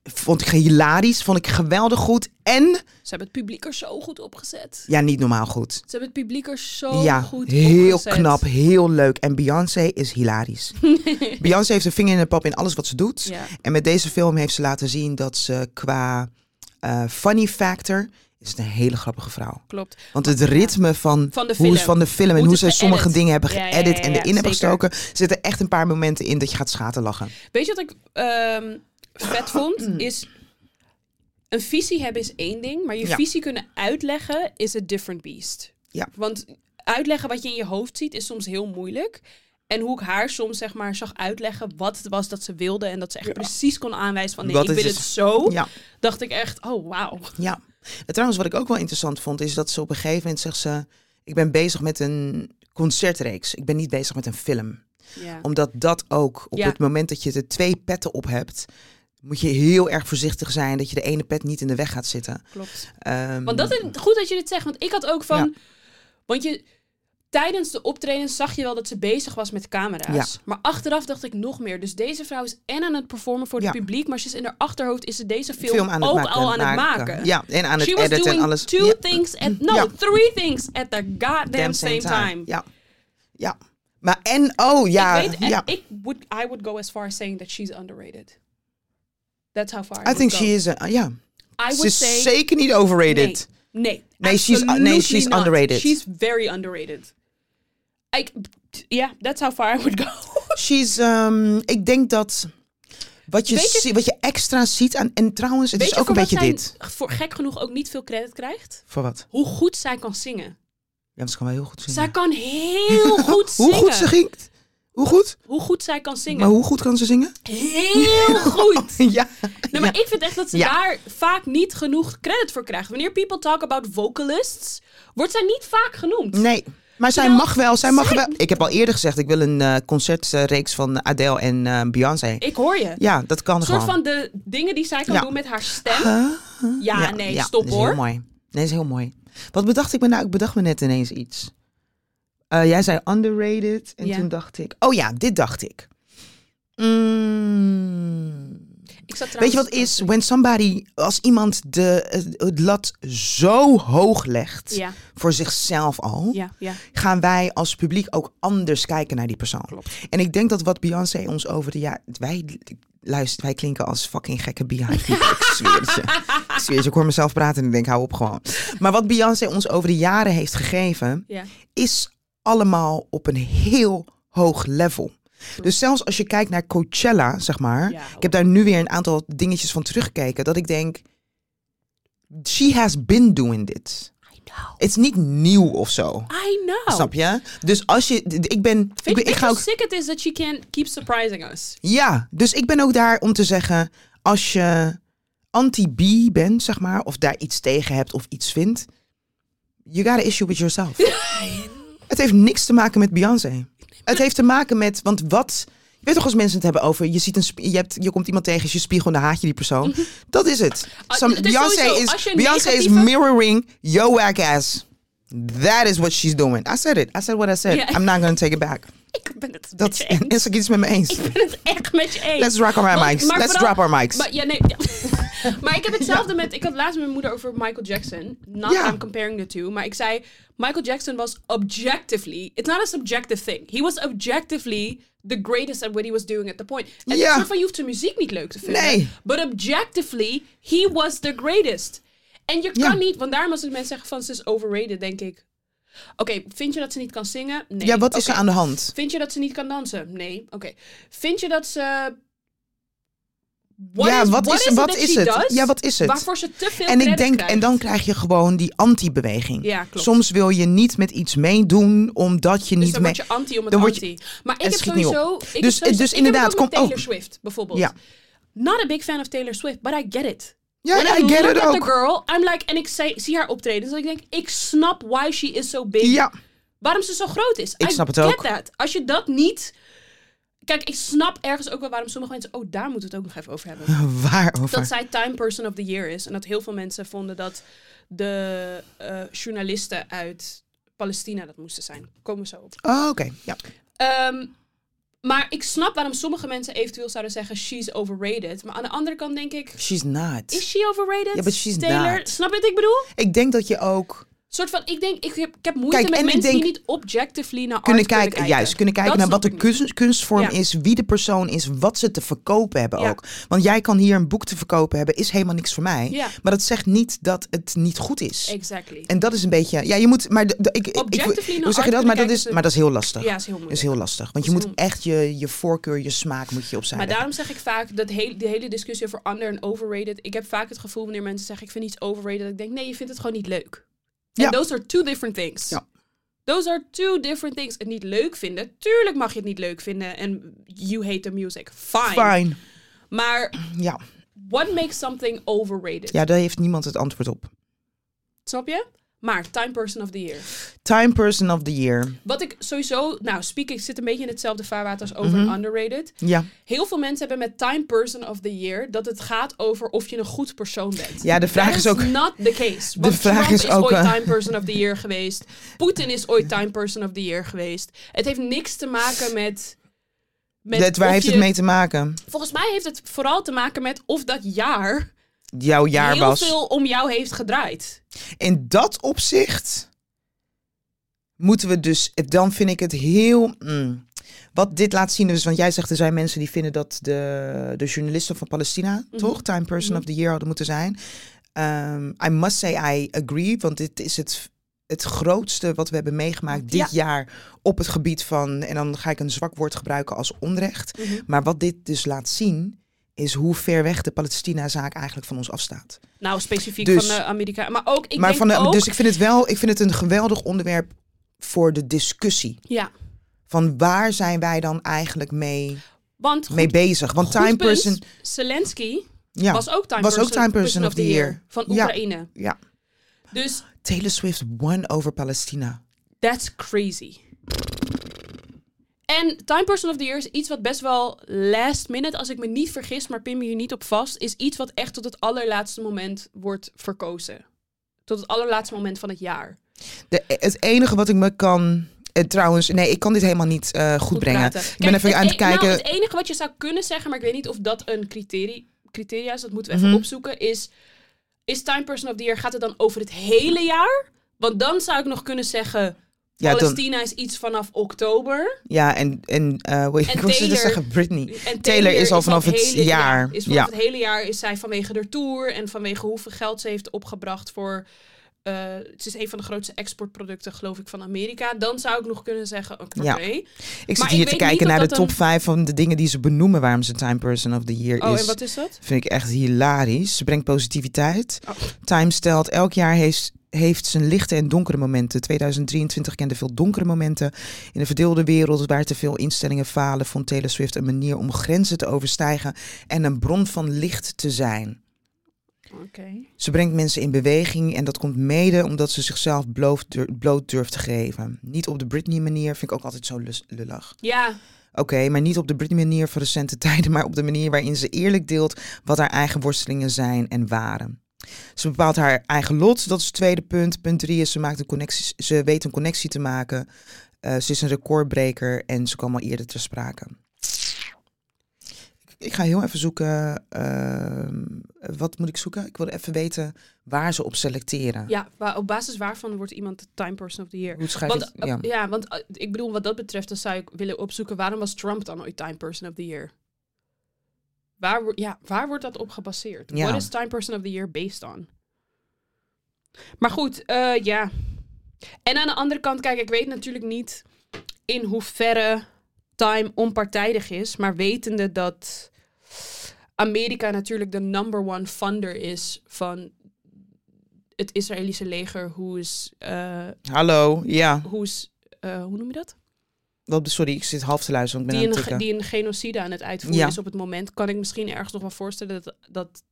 [SPEAKER 2] vond ik hilarisch. Vond ik geweldig goed. En,
[SPEAKER 1] Ze hebben het publiek er zo goed opgezet.
[SPEAKER 2] ja, niet normaal goed.
[SPEAKER 1] Ze hebben het publiek er zo
[SPEAKER 2] ja,
[SPEAKER 1] goed
[SPEAKER 2] heel
[SPEAKER 1] opgezet.
[SPEAKER 2] knap, heel leuk. En Beyoncé is hilarisch. Beyoncé heeft een vinger in de pap in alles wat ze doet.
[SPEAKER 1] Ja.
[SPEAKER 2] En met deze film heeft ze laten zien dat ze qua eh, funny factor is het een hele grappige vrouw.
[SPEAKER 1] Klopt.
[SPEAKER 2] Want het ritme van,
[SPEAKER 1] Van de
[SPEAKER 2] hoe,
[SPEAKER 1] film.
[SPEAKER 2] ze- van de film en
[SPEAKER 1] Hoe
[SPEAKER 2] hoe
[SPEAKER 1] het
[SPEAKER 2] ze sommige
[SPEAKER 1] geëdit.
[SPEAKER 2] dingen hebben
[SPEAKER 1] Ja, ja,
[SPEAKER 2] geëdit
[SPEAKER 1] ja, ja,
[SPEAKER 2] en erin
[SPEAKER 1] ja,
[SPEAKER 2] hebben
[SPEAKER 1] zeker.
[SPEAKER 2] gestoken, zitten echt een paar momenten in dat je gaat schaten lachen.
[SPEAKER 1] Weet je wat ik ehm, vet
[SPEAKER 2] Mm.
[SPEAKER 1] vond? Is een visie hebben is één ding, maar je
[SPEAKER 2] Ja.
[SPEAKER 1] visie kunnen uitleggen is a different beast.
[SPEAKER 2] Ja.
[SPEAKER 1] Want uitleggen wat je in je hoofd ziet is soms heel moeilijk. En hoe ik haar soms zeg maar zag uitleggen wat het was dat ze wilde en dat ze echt precies kon aanwijzen van nee,
[SPEAKER 2] Dat
[SPEAKER 1] ik
[SPEAKER 2] is
[SPEAKER 1] wil
[SPEAKER 2] het.
[SPEAKER 1] het zo,
[SPEAKER 2] Ja.
[SPEAKER 1] dacht ik echt oh wauw.
[SPEAKER 2] Ja. En trouwens, wat ik ook wel interessant vond, is dat ze op een gegeven moment zegt ze... Ik ben bezig met een concertreeks. Ik ben niet bezig met een film.
[SPEAKER 1] Ja.
[SPEAKER 2] Omdat dat ook, op
[SPEAKER 1] Ja.
[SPEAKER 2] het moment dat je de twee petten op hebt, moet je heel erg voorzichtig zijn dat je de ene pet niet in de weg gaat zitten.
[SPEAKER 1] Klopt.
[SPEAKER 2] Ehm,
[SPEAKER 1] Want dat is goed dat je dit zegt, want ik had ook van want je tijdens de optredens zag je wel dat ze bezig was met camera's. Maar achteraf dacht ik nog meer. Dus deze vrouw is en aan het performen voor het
[SPEAKER 2] Ja.
[SPEAKER 1] publiek, maar ze is in haar achterhoofd is ze deze film,
[SPEAKER 2] film aan het
[SPEAKER 1] ook
[SPEAKER 2] maken.
[SPEAKER 1] al aan het maken.
[SPEAKER 2] Ja, en aan het
[SPEAKER 1] She was
[SPEAKER 2] editen
[SPEAKER 1] doing
[SPEAKER 2] en alles.
[SPEAKER 1] two
[SPEAKER 2] Ja,
[SPEAKER 1] things at no
[SPEAKER 2] Ja.
[SPEAKER 1] three things at the goddamn
[SPEAKER 2] damn
[SPEAKER 1] same time.
[SPEAKER 2] Ja. ja. Maar en, oh ja,
[SPEAKER 1] ik weet,
[SPEAKER 2] ja.
[SPEAKER 1] ik would, I would go as far as saying that she's underrated. That's how far I,
[SPEAKER 2] I
[SPEAKER 1] would
[SPEAKER 2] think
[SPEAKER 1] go.
[SPEAKER 2] she is, a- ja.
[SPEAKER 1] I
[SPEAKER 2] Ze
[SPEAKER 1] would
[SPEAKER 2] is
[SPEAKER 1] say
[SPEAKER 2] zeker niet overrated.
[SPEAKER 1] Nee.
[SPEAKER 2] Nee, she's-
[SPEAKER 1] absolutely
[SPEAKER 2] nee, she's
[SPEAKER 1] not.
[SPEAKER 2] underrated.
[SPEAKER 1] She's very underrated. I, yeah, that's how far I would go.
[SPEAKER 2] She's, ehm, ik denk dat wat je,
[SPEAKER 1] Weet je-
[SPEAKER 2] zie- wat je extra ziet aan, en trouwens, het
[SPEAKER 1] Weet
[SPEAKER 2] is
[SPEAKER 1] je
[SPEAKER 2] ook een
[SPEAKER 1] voor
[SPEAKER 2] beetje
[SPEAKER 1] wat
[SPEAKER 2] dit.
[SPEAKER 1] zij Voor gek genoeg ook niet veel credit krijgt.
[SPEAKER 2] Voor wat?
[SPEAKER 1] Hoe goed zij kan zingen.
[SPEAKER 2] Ja, ze kan wel heel goed zingen.
[SPEAKER 1] Zij kan heel goed
[SPEAKER 2] Hoe
[SPEAKER 1] zingen.
[SPEAKER 2] goed ze gingt? Hoe goed?
[SPEAKER 1] Hoe goed zij kan zingen.
[SPEAKER 2] Maar hoe goed kan ze zingen?
[SPEAKER 1] Heel goed.
[SPEAKER 2] ja.
[SPEAKER 1] Nee, maar ik vind echt dat ze
[SPEAKER 2] Ja.
[SPEAKER 1] daar vaak niet genoeg credit voor krijgt. Wanneer people talk about vocalists, wordt zij niet vaak genoemd.
[SPEAKER 2] Nee. Maar zij
[SPEAKER 1] Terwijl
[SPEAKER 2] mag wel, zij mag
[SPEAKER 1] zij-
[SPEAKER 2] wel. Ik heb al eerder gezegd, ik wil een eh, concertreeks van Adele en eh, Beyoncé.
[SPEAKER 1] Ik hoor je.
[SPEAKER 2] Ja, dat kan
[SPEAKER 1] Een soort
[SPEAKER 2] gewoon.
[SPEAKER 1] van de dingen die zij kan
[SPEAKER 2] Ja.
[SPEAKER 1] doen met haar stem. Ja, Ah, nee,
[SPEAKER 2] dat
[SPEAKER 1] stop
[SPEAKER 2] is
[SPEAKER 1] hoor.
[SPEAKER 2] heel mooi. Nee, is heel mooi. Wat bedacht ik me nou? Ik bedacht me net ineens iets. Eh, jij zei underrated en
[SPEAKER 1] Ja.
[SPEAKER 2] toen dacht ik, oh ja, dit dacht ik. Mm.
[SPEAKER 1] Ik zat
[SPEAKER 2] Weet je
[SPEAKER 1] trouwens-
[SPEAKER 2] wat is? When somebody, als iemand de, het- het lat zo hoog legt
[SPEAKER 1] Ja,
[SPEAKER 2] voor zichzelf al,
[SPEAKER 1] ja, ja.
[SPEAKER 2] gaan wij als publiek ook anders kijken naar die persoon.
[SPEAKER 1] Klopt.
[SPEAKER 2] En ik denk dat wat Beyoncé ons over de jaar... Wij, luister, wij klinken als fucking gekke beehive people. ik zweer het je. Ik zweer het je. Ik hoor mezelf praten en ik denk, hou op gewoon. Maar wat Beyoncé ons over de jaren heeft gegeven...
[SPEAKER 1] Ja.
[SPEAKER 2] is allemaal op een heel hoog level. Dus zelfs als je kijkt naar Coachella, zeg maar...
[SPEAKER 1] Ja,
[SPEAKER 2] ik heb daar nu weer een aantal dingetjes van teruggekeken... dat ik denk... She has been doing this.
[SPEAKER 1] I know.
[SPEAKER 2] Het is niet nieuw of zo.
[SPEAKER 1] I know.
[SPEAKER 2] Snap je? Dus als je. d- Ik ben.
[SPEAKER 1] Weet
[SPEAKER 2] Ik, ben,
[SPEAKER 1] je dus
[SPEAKER 2] ik ga
[SPEAKER 1] hoe
[SPEAKER 2] ook.
[SPEAKER 1] sick het is dat she can keep surprising us?
[SPEAKER 2] Ja, dus ik ben ook daar om te zeggen. Als je anti-B bent, zeg maar. Of daar iets tegen hebt of iets vindt. You got an issue with yourself. het heeft niks te maken met Beyoncé. Het heeft te maken met. Want wat. weet toch als mensen het hebben over, je, ziet een, sp- je, hebt, je komt iemand tegen, is je spiegel en dan haat je die persoon. Dat is het.
[SPEAKER 1] Mhm. Ah,
[SPEAKER 2] Some-
[SPEAKER 1] het is
[SPEAKER 2] Beyoncé
[SPEAKER 1] sowieso,
[SPEAKER 2] is,
[SPEAKER 1] als je een
[SPEAKER 2] Beyoncé is
[SPEAKER 1] negatieve-
[SPEAKER 2] mirroring your whack ass. That is what she's doing. I said it. I said what I said.
[SPEAKER 1] Ja.
[SPEAKER 2] I'm not going to take it back.
[SPEAKER 1] Ik ben het
[SPEAKER 2] Dat
[SPEAKER 1] met je eens.
[SPEAKER 2] is ik iets met me eens.
[SPEAKER 1] Ik ben het echt met je eens.
[SPEAKER 2] Let's rock our
[SPEAKER 1] Want-
[SPEAKER 2] mics.
[SPEAKER 1] maar
[SPEAKER 2] Let's
[SPEAKER 1] vooral-
[SPEAKER 2] drop our mics.
[SPEAKER 1] Maar, ja, nee, ja. maar ik heb hetzelfde met... Ik had laatst met mijn moeder over Michael Jackson. Not
[SPEAKER 2] Ja.
[SPEAKER 1] that I'm comparing the two. Maar ik zei... Michael Jackson was objectively... It's not a subjective thing. He was objectively the greatest at what he was doing at the point. En
[SPEAKER 2] Ja.
[SPEAKER 1] het soort van, je hoeft zijn muziek niet leuk te vinden.
[SPEAKER 2] Nee.
[SPEAKER 1] But objectively, he was the greatest. En je
[SPEAKER 2] Ja.
[SPEAKER 1] kan niet... Want daarom als mensen zeggen van ze is overrated, denk ik... Oké, vind je dat ze niet kan zingen? Nee.
[SPEAKER 2] ja, wat is
[SPEAKER 1] Oké.
[SPEAKER 2] er aan de hand?
[SPEAKER 1] Vind je dat ze niet kan dansen? Nee. Oké. Vind je dat ze. What
[SPEAKER 2] ja,
[SPEAKER 1] is-
[SPEAKER 2] wat is,
[SPEAKER 1] it
[SPEAKER 2] wat
[SPEAKER 1] that
[SPEAKER 2] is
[SPEAKER 1] she
[SPEAKER 2] het?
[SPEAKER 1] does
[SPEAKER 2] Ja, wat is het?
[SPEAKER 1] Waarvoor ze te veel
[SPEAKER 2] en ik
[SPEAKER 1] credit
[SPEAKER 2] denk,
[SPEAKER 1] krijgt?
[SPEAKER 2] en dan krijg je gewoon die anti-beweging.
[SPEAKER 1] Ja, klopt.
[SPEAKER 2] Soms wil je niet met iets meedoen omdat je
[SPEAKER 1] Dus
[SPEAKER 2] niet
[SPEAKER 1] dan
[SPEAKER 2] mee.
[SPEAKER 1] word je anti om het
[SPEAKER 2] dan word je-
[SPEAKER 1] anti. Maar ik
[SPEAKER 2] het
[SPEAKER 1] heb
[SPEAKER 2] schiet niet op.
[SPEAKER 1] sowieso... Ik heb
[SPEAKER 2] Dus-
[SPEAKER 1] sowieso-
[SPEAKER 2] dus
[SPEAKER 1] ik
[SPEAKER 2] inderdaad,
[SPEAKER 1] heb het ook met
[SPEAKER 2] kom- oh.
[SPEAKER 1] Taylor Swift bijvoorbeeld.
[SPEAKER 2] Ja.
[SPEAKER 1] Not a big fan of Taylor Swift, but I get it.
[SPEAKER 2] Ja,
[SPEAKER 1] When
[SPEAKER 2] ja, I get
[SPEAKER 1] look
[SPEAKER 2] it
[SPEAKER 1] at
[SPEAKER 2] ook.
[SPEAKER 1] the girl, I'm like... En ik zie, zie haar optreden, dus ik denk, ik snap why she is so big.
[SPEAKER 2] Ja,
[SPEAKER 1] waarom ze zo groot is.
[SPEAKER 2] Ik
[SPEAKER 1] I
[SPEAKER 2] snap het
[SPEAKER 1] get
[SPEAKER 2] ook.
[SPEAKER 1] that. Als je dat niet... Kijk, ik snap ergens ook wel waarom sommige mensen... Oh, daar moeten we het ook nog even over hebben.
[SPEAKER 2] waarover?
[SPEAKER 1] Dat zij Time Person of the Year is. En dat heel veel mensen vonden dat de eh, journalisten uit Palestina dat moesten zijn. Komen we zo op.
[SPEAKER 2] Oh, oké. Ja.
[SPEAKER 1] Ehm, maar ik snap waarom sommige mensen eventueel zouden zeggen... She's overrated. Maar aan de andere kant denk ik...
[SPEAKER 2] She's not.
[SPEAKER 1] Is she overrated?
[SPEAKER 2] Ja, but she's
[SPEAKER 1] Taylor?
[SPEAKER 2] not.
[SPEAKER 1] Snap je wat ik bedoel?
[SPEAKER 2] Ik denk dat je ook
[SPEAKER 1] soort van, ik denk, ik heb, ik heb moeite
[SPEAKER 2] Kijk,
[SPEAKER 1] met
[SPEAKER 2] en ik
[SPEAKER 1] mensen die
[SPEAKER 2] denk-
[SPEAKER 1] niet objectively naar
[SPEAKER 2] kunnen
[SPEAKER 1] art kunnen
[SPEAKER 2] kijken, juist kunnen kijken
[SPEAKER 1] Dat
[SPEAKER 2] naar wat de
[SPEAKER 1] snap ik niet.
[SPEAKER 2] kunst- kunstvorm
[SPEAKER 1] Ja.
[SPEAKER 2] is, wie de persoon is, wat ze te verkopen hebben
[SPEAKER 1] Ja.
[SPEAKER 2] ook. Want jij kan hier een boek te verkopen hebben, is helemaal niks voor mij.
[SPEAKER 1] Ja.
[SPEAKER 2] Maar dat zegt niet dat het niet goed is.
[SPEAKER 1] Exactly.
[SPEAKER 2] En dat is een beetje, ja, je moet, maar de- de- ik, ik-
[SPEAKER 1] Objectively
[SPEAKER 2] ik,
[SPEAKER 1] naar
[SPEAKER 2] hoe zeg
[SPEAKER 1] art
[SPEAKER 2] je dat? Maar dat
[SPEAKER 1] kunnen
[SPEAKER 2] is,
[SPEAKER 1] kijken
[SPEAKER 2] maar dat is heel lastig.
[SPEAKER 1] Ja, is heel
[SPEAKER 2] Dat is
[SPEAKER 1] moeilijk.
[SPEAKER 2] heel lastig. Want je
[SPEAKER 1] Dat is
[SPEAKER 2] moet echt je, je voorkeur, je smaak moet je opzij
[SPEAKER 1] Maar
[SPEAKER 2] leggen.
[SPEAKER 1] daarom zeg ik vaak, dat hele, de hele discussie over under en overrated. Ik heb vaak het gevoel wanneer mensen zeggen, ik vind iets overrated. Dat ik denk, nee, je vindt het gewoon niet leuk.
[SPEAKER 2] Ja.
[SPEAKER 1] En those are two different things.
[SPEAKER 2] Ja.
[SPEAKER 1] Those are two different things. Het niet leuk vinden. Tuurlijk mag je het niet leuk vinden. En you hate the music. Fine.
[SPEAKER 2] Fine.
[SPEAKER 1] Maar
[SPEAKER 2] Ja.
[SPEAKER 1] what makes something overrated?
[SPEAKER 2] ja, daar heeft niemand het antwoord op.
[SPEAKER 1] Snap je? Maar Time Person of the Year.
[SPEAKER 2] Time Person of the Year.
[SPEAKER 1] Wat ik sowieso... Nou, speak, ik zit een beetje in hetzelfde vaarwater als over
[SPEAKER 2] Mhm.
[SPEAKER 1] en underrated.
[SPEAKER 2] Ja.
[SPEAKER 1] Heel veel mensen hebben met Time Person of the Year dat het gaat over of je een goed persoon bent.
[SPEAKER 2] Ja, de vraag
[SPEAKER 1] That
[SPEAKER 2] is ook-
[SPEAKER 1] not the case. Want
[SPEAKER 2] vraag
[SPEAKER 1] Trump
[SPEAKER 2] is
[SPEAKER 1] is,
[SPEAKER 2] ook,
[SPEAKER 1] ooit
[SPEAKER 2] eh,
[SPEAKER 1] Time Person of the Year geweest. Poetin is ooit Time Person of the Year geweest. Het heeft niks te maken met. met
[SPEAKER 2] Dat, waar
[SPEAKER 1] of
[SPEAKER 2] heeft
[SPEAKER 1] je-
[SPEAKER 2] het mee te maken?
[SPEAKER 1] Volgens mij heeft het vooral te maken met of dat jaar,
[SPEAKER 2] Jouw jaar
[SPEAKER 1] heel
[SPEAKER 2] was.
[SPEAKER 1] veel om jou heeft gedraaid.
[SPEAKER 2] In dat opzicht moeten we dus, dan vind ik het heel. mm, wat dit laat zien, dus, want jij zegt er zijn mensen die vinden dat de, de journalisten van Palestina, toch, Time Person of the Year hadden moeten zijn. Ehm, I must say I agree, want dit is het, het grootste wat we hebben meegemaakt dit
[SPEAKER 1] Ja.
[SPEAKER 2] jaar op het gebied van, en dan ga ik een zwak woord gebruiken als onrecht.
[SPEAKER 1] Mhm.
[SPEAKER 2] Maar wat dit dus laat zien, is hoe ver weg de Palestina-zaak eigenlijk van ons afstaat.
[SPEAKER 1] Nou, specifiek
[SPEAKER 2] Dus-
[SPEAKER 1] van eh, Amerika. Maar ook, ik
[SPEAKER 2] Maar
[SPEAKER 1] denk
[SPEAKER 2] van de-
[SPEAKER 1] ook...
[SPEAKER 2] dus ik vind het wel, ik vind het een geweldig onderwerp voor de discussie.
[SPEAKER 1] Ja,
[SPEAKER 2] Van waar zijn wij dan eigenlijk mee,
[SPEAKER 1] want goed,
[SPEAKER 2] mee bezig? Want
[SPEAKER 1] goed
[SPEAKER 2] Time
[SPEAKER 1] punt.
[SPEAKER 2] Person
[SPEAKER 1] Zelensky
[SPEAKER 2] ja,
[SPEAKER 1] was ook Time,
[SPEAKER 2] was
[SPEAKER 1] person,
[SPEAKER 2] ook Time Person of the Year.
[SPEAKER 1] van
[SPEAKER 2] Ja.
[SPEAKER 1] Oekraïne.
[SPEAKER 2] ja.
[SPEAKER 1] Dus
[SPEAKER 2] Taylor Swift won over Palestina.
[SPEAKER 1] that's crazy. En Time Person of the Year is iets wat best wel last minute, als ik me niet vergis, maar pin me hier niet op vast, is iets wat echt tot het allerlaatste moment wordt verkozen. Tot het allerlaatste moment van het jaar.
[SPEAKER 2] De, het enige wat ik me kan. eh, trouwens, nee, ik kan dit helemaal niet eh, goed, brengen.
[SPEAKER 1] praten.
[SPEAKER 2] Ik ben
[SPEAKER 1] Kijk,
[SPEAKER 2] even aan het
[SPEAKER 1] e- nou,
[SPEAKER 2] kijken.
[SPEAKER 1] het enige wat je zou kunnen zeggen, maar ik weet niet of dat een criteria, criteria is, dat moeten we
[SPEAKER 2] Mhm.
[SPEAKER 1] even opzoeken, is, is Time Person of the Year, gaat het dan over het hele jaar? Want dan zou ik nog kunnen zeggen,
[SPEAKER 2] ja, dan,
[SPEAKER 1] Palestina is iets vanaf oktober.
[SPEAKER 2] ja, en. en eh hoe- ik wil
[SPEAKER 1] Taylor-
[SPEAKER 2] zeggen, Britney.
[SPEAKER 1] En
[SPEAKER 2] Taylor, is al vanaf het
[SPEAKER 1] hele
[SPEAKER 2] jaar.
[SPEAKER 1] Is vanaf
[SPEAKER 2] Ja.
[SPEAKER 1] het hele jaar is zij vanwege de tour en vanwege hoeveel geld ze heeft opgebracht voor. eh, het is een van de grootste exportproducten, geloof ik, van Amerika. Dan zou ik nog kunnen zeggen: oké.
[SPEAKER 2] Ja. Ik zit
[SPEAKER 1] Maar ik weet
[SPEAKER 2] hier te
[SPEAKER 1] niet
[SPEAKER 2] kijken
[SPEAKER 1] of
[SPEAKER 2] naar de
[SPEAKER 1] dat een-
[SPEAKER 2] top 5 van de dingen die ze benoemen waarom ze Time Person of the Year
[SPEAKER 1] Oh,
[SPEAKER 2] is.
[SPEAKER 1] en wat is dat?
[SPEAKER 2] Vind ik echt hilarisch. Ze brengt positiviteit.
[SPEAKER 1] Oh.
[SPEAKER 2] Time stelt, elk jaar heeft, heeft zijn lichte en donkere momenten. 2023 kende veel donkere momenten. In een verdeelde wereld waar te veel instellingen falen, vond Taylor Swift een manier om grenzen te overstijgen en een bron van licht te zijn.
[SPEAKER 1] Oké.
[SPEAKER 2] Ze brengt mensen in beweging en dat komt mede omdat ze zichzelf bloof- dur- bloot durft te geven. Niet op de Britney manier, vind ik ook altijd zo lus- lullig.
[SPEAKER 1] Ja,
[SPEAKER 2] Oké, maar niet op de Britney-manier van recente tijden, maar op de manier waarin ze eerlijk deelt wat haar eigen worstelingen zijn en waren. Ze bepaalt haar eigen lot, dat is het tweede punt. Punt drie is, ze, maakt een connectie, ze weet een connectie te maken. Eh, ze is een recordbreker en ze kwam al eerder ter sprake. Ik, ik ga heel even zoeken, ehm, wat moet ik zoeken? Ik wil even weten waar ze op selecteren.
[SPEAKER 1] Ja, wa- op basis waarvan wordt iemand de Time Person of the Year?
[SPEAKER 2] Hoe schrijf
[SPEAKER 1] Want,
[SPEAKER 2] je het? Ja.
[SPEAKER 1] eh, ja, want eh, ik bedoel, wat dat betreft, dan zou ik willen opzoeken waarom was Trump dan ooit Time Person of the Year? Waar, wo- ja, waar wordt dat op gebaseerd?
[SPEAKER 2] Ja.
[SPEAKER 1] What is Time Person of the Year based on? Maar goed, eh, ja. En aan de andere kant, kijk, ik weet natuurlijk niet in hoeverre Time onpartijdig is, maar wetende dat Amerika natuurlijk de number one funder is van het Israëlische leger, hoe is eh,
[SPEAKER 2] Hallo, ja.
[SPEAKER 1] hoe is, eh, hoe noem je dat?
[SPEAKER 2] Wat- Sorry, ik zit half te luisteren, want ik
[SPEAKER 1] Die
[SPEAKER 2] ben aan
[SPEAKER 1] een,
[SPEAKER 2] het
[SPEAKER 1] ge-
[SPEAKER 2] tikken.
[SPEAKER 1] die een genocide aan het uitvoeren
[SPEAKER 2] Ja.
[SPEAKER 1] is op het moment. Kan ik misschien ergens nog wel voorstellen dat, dat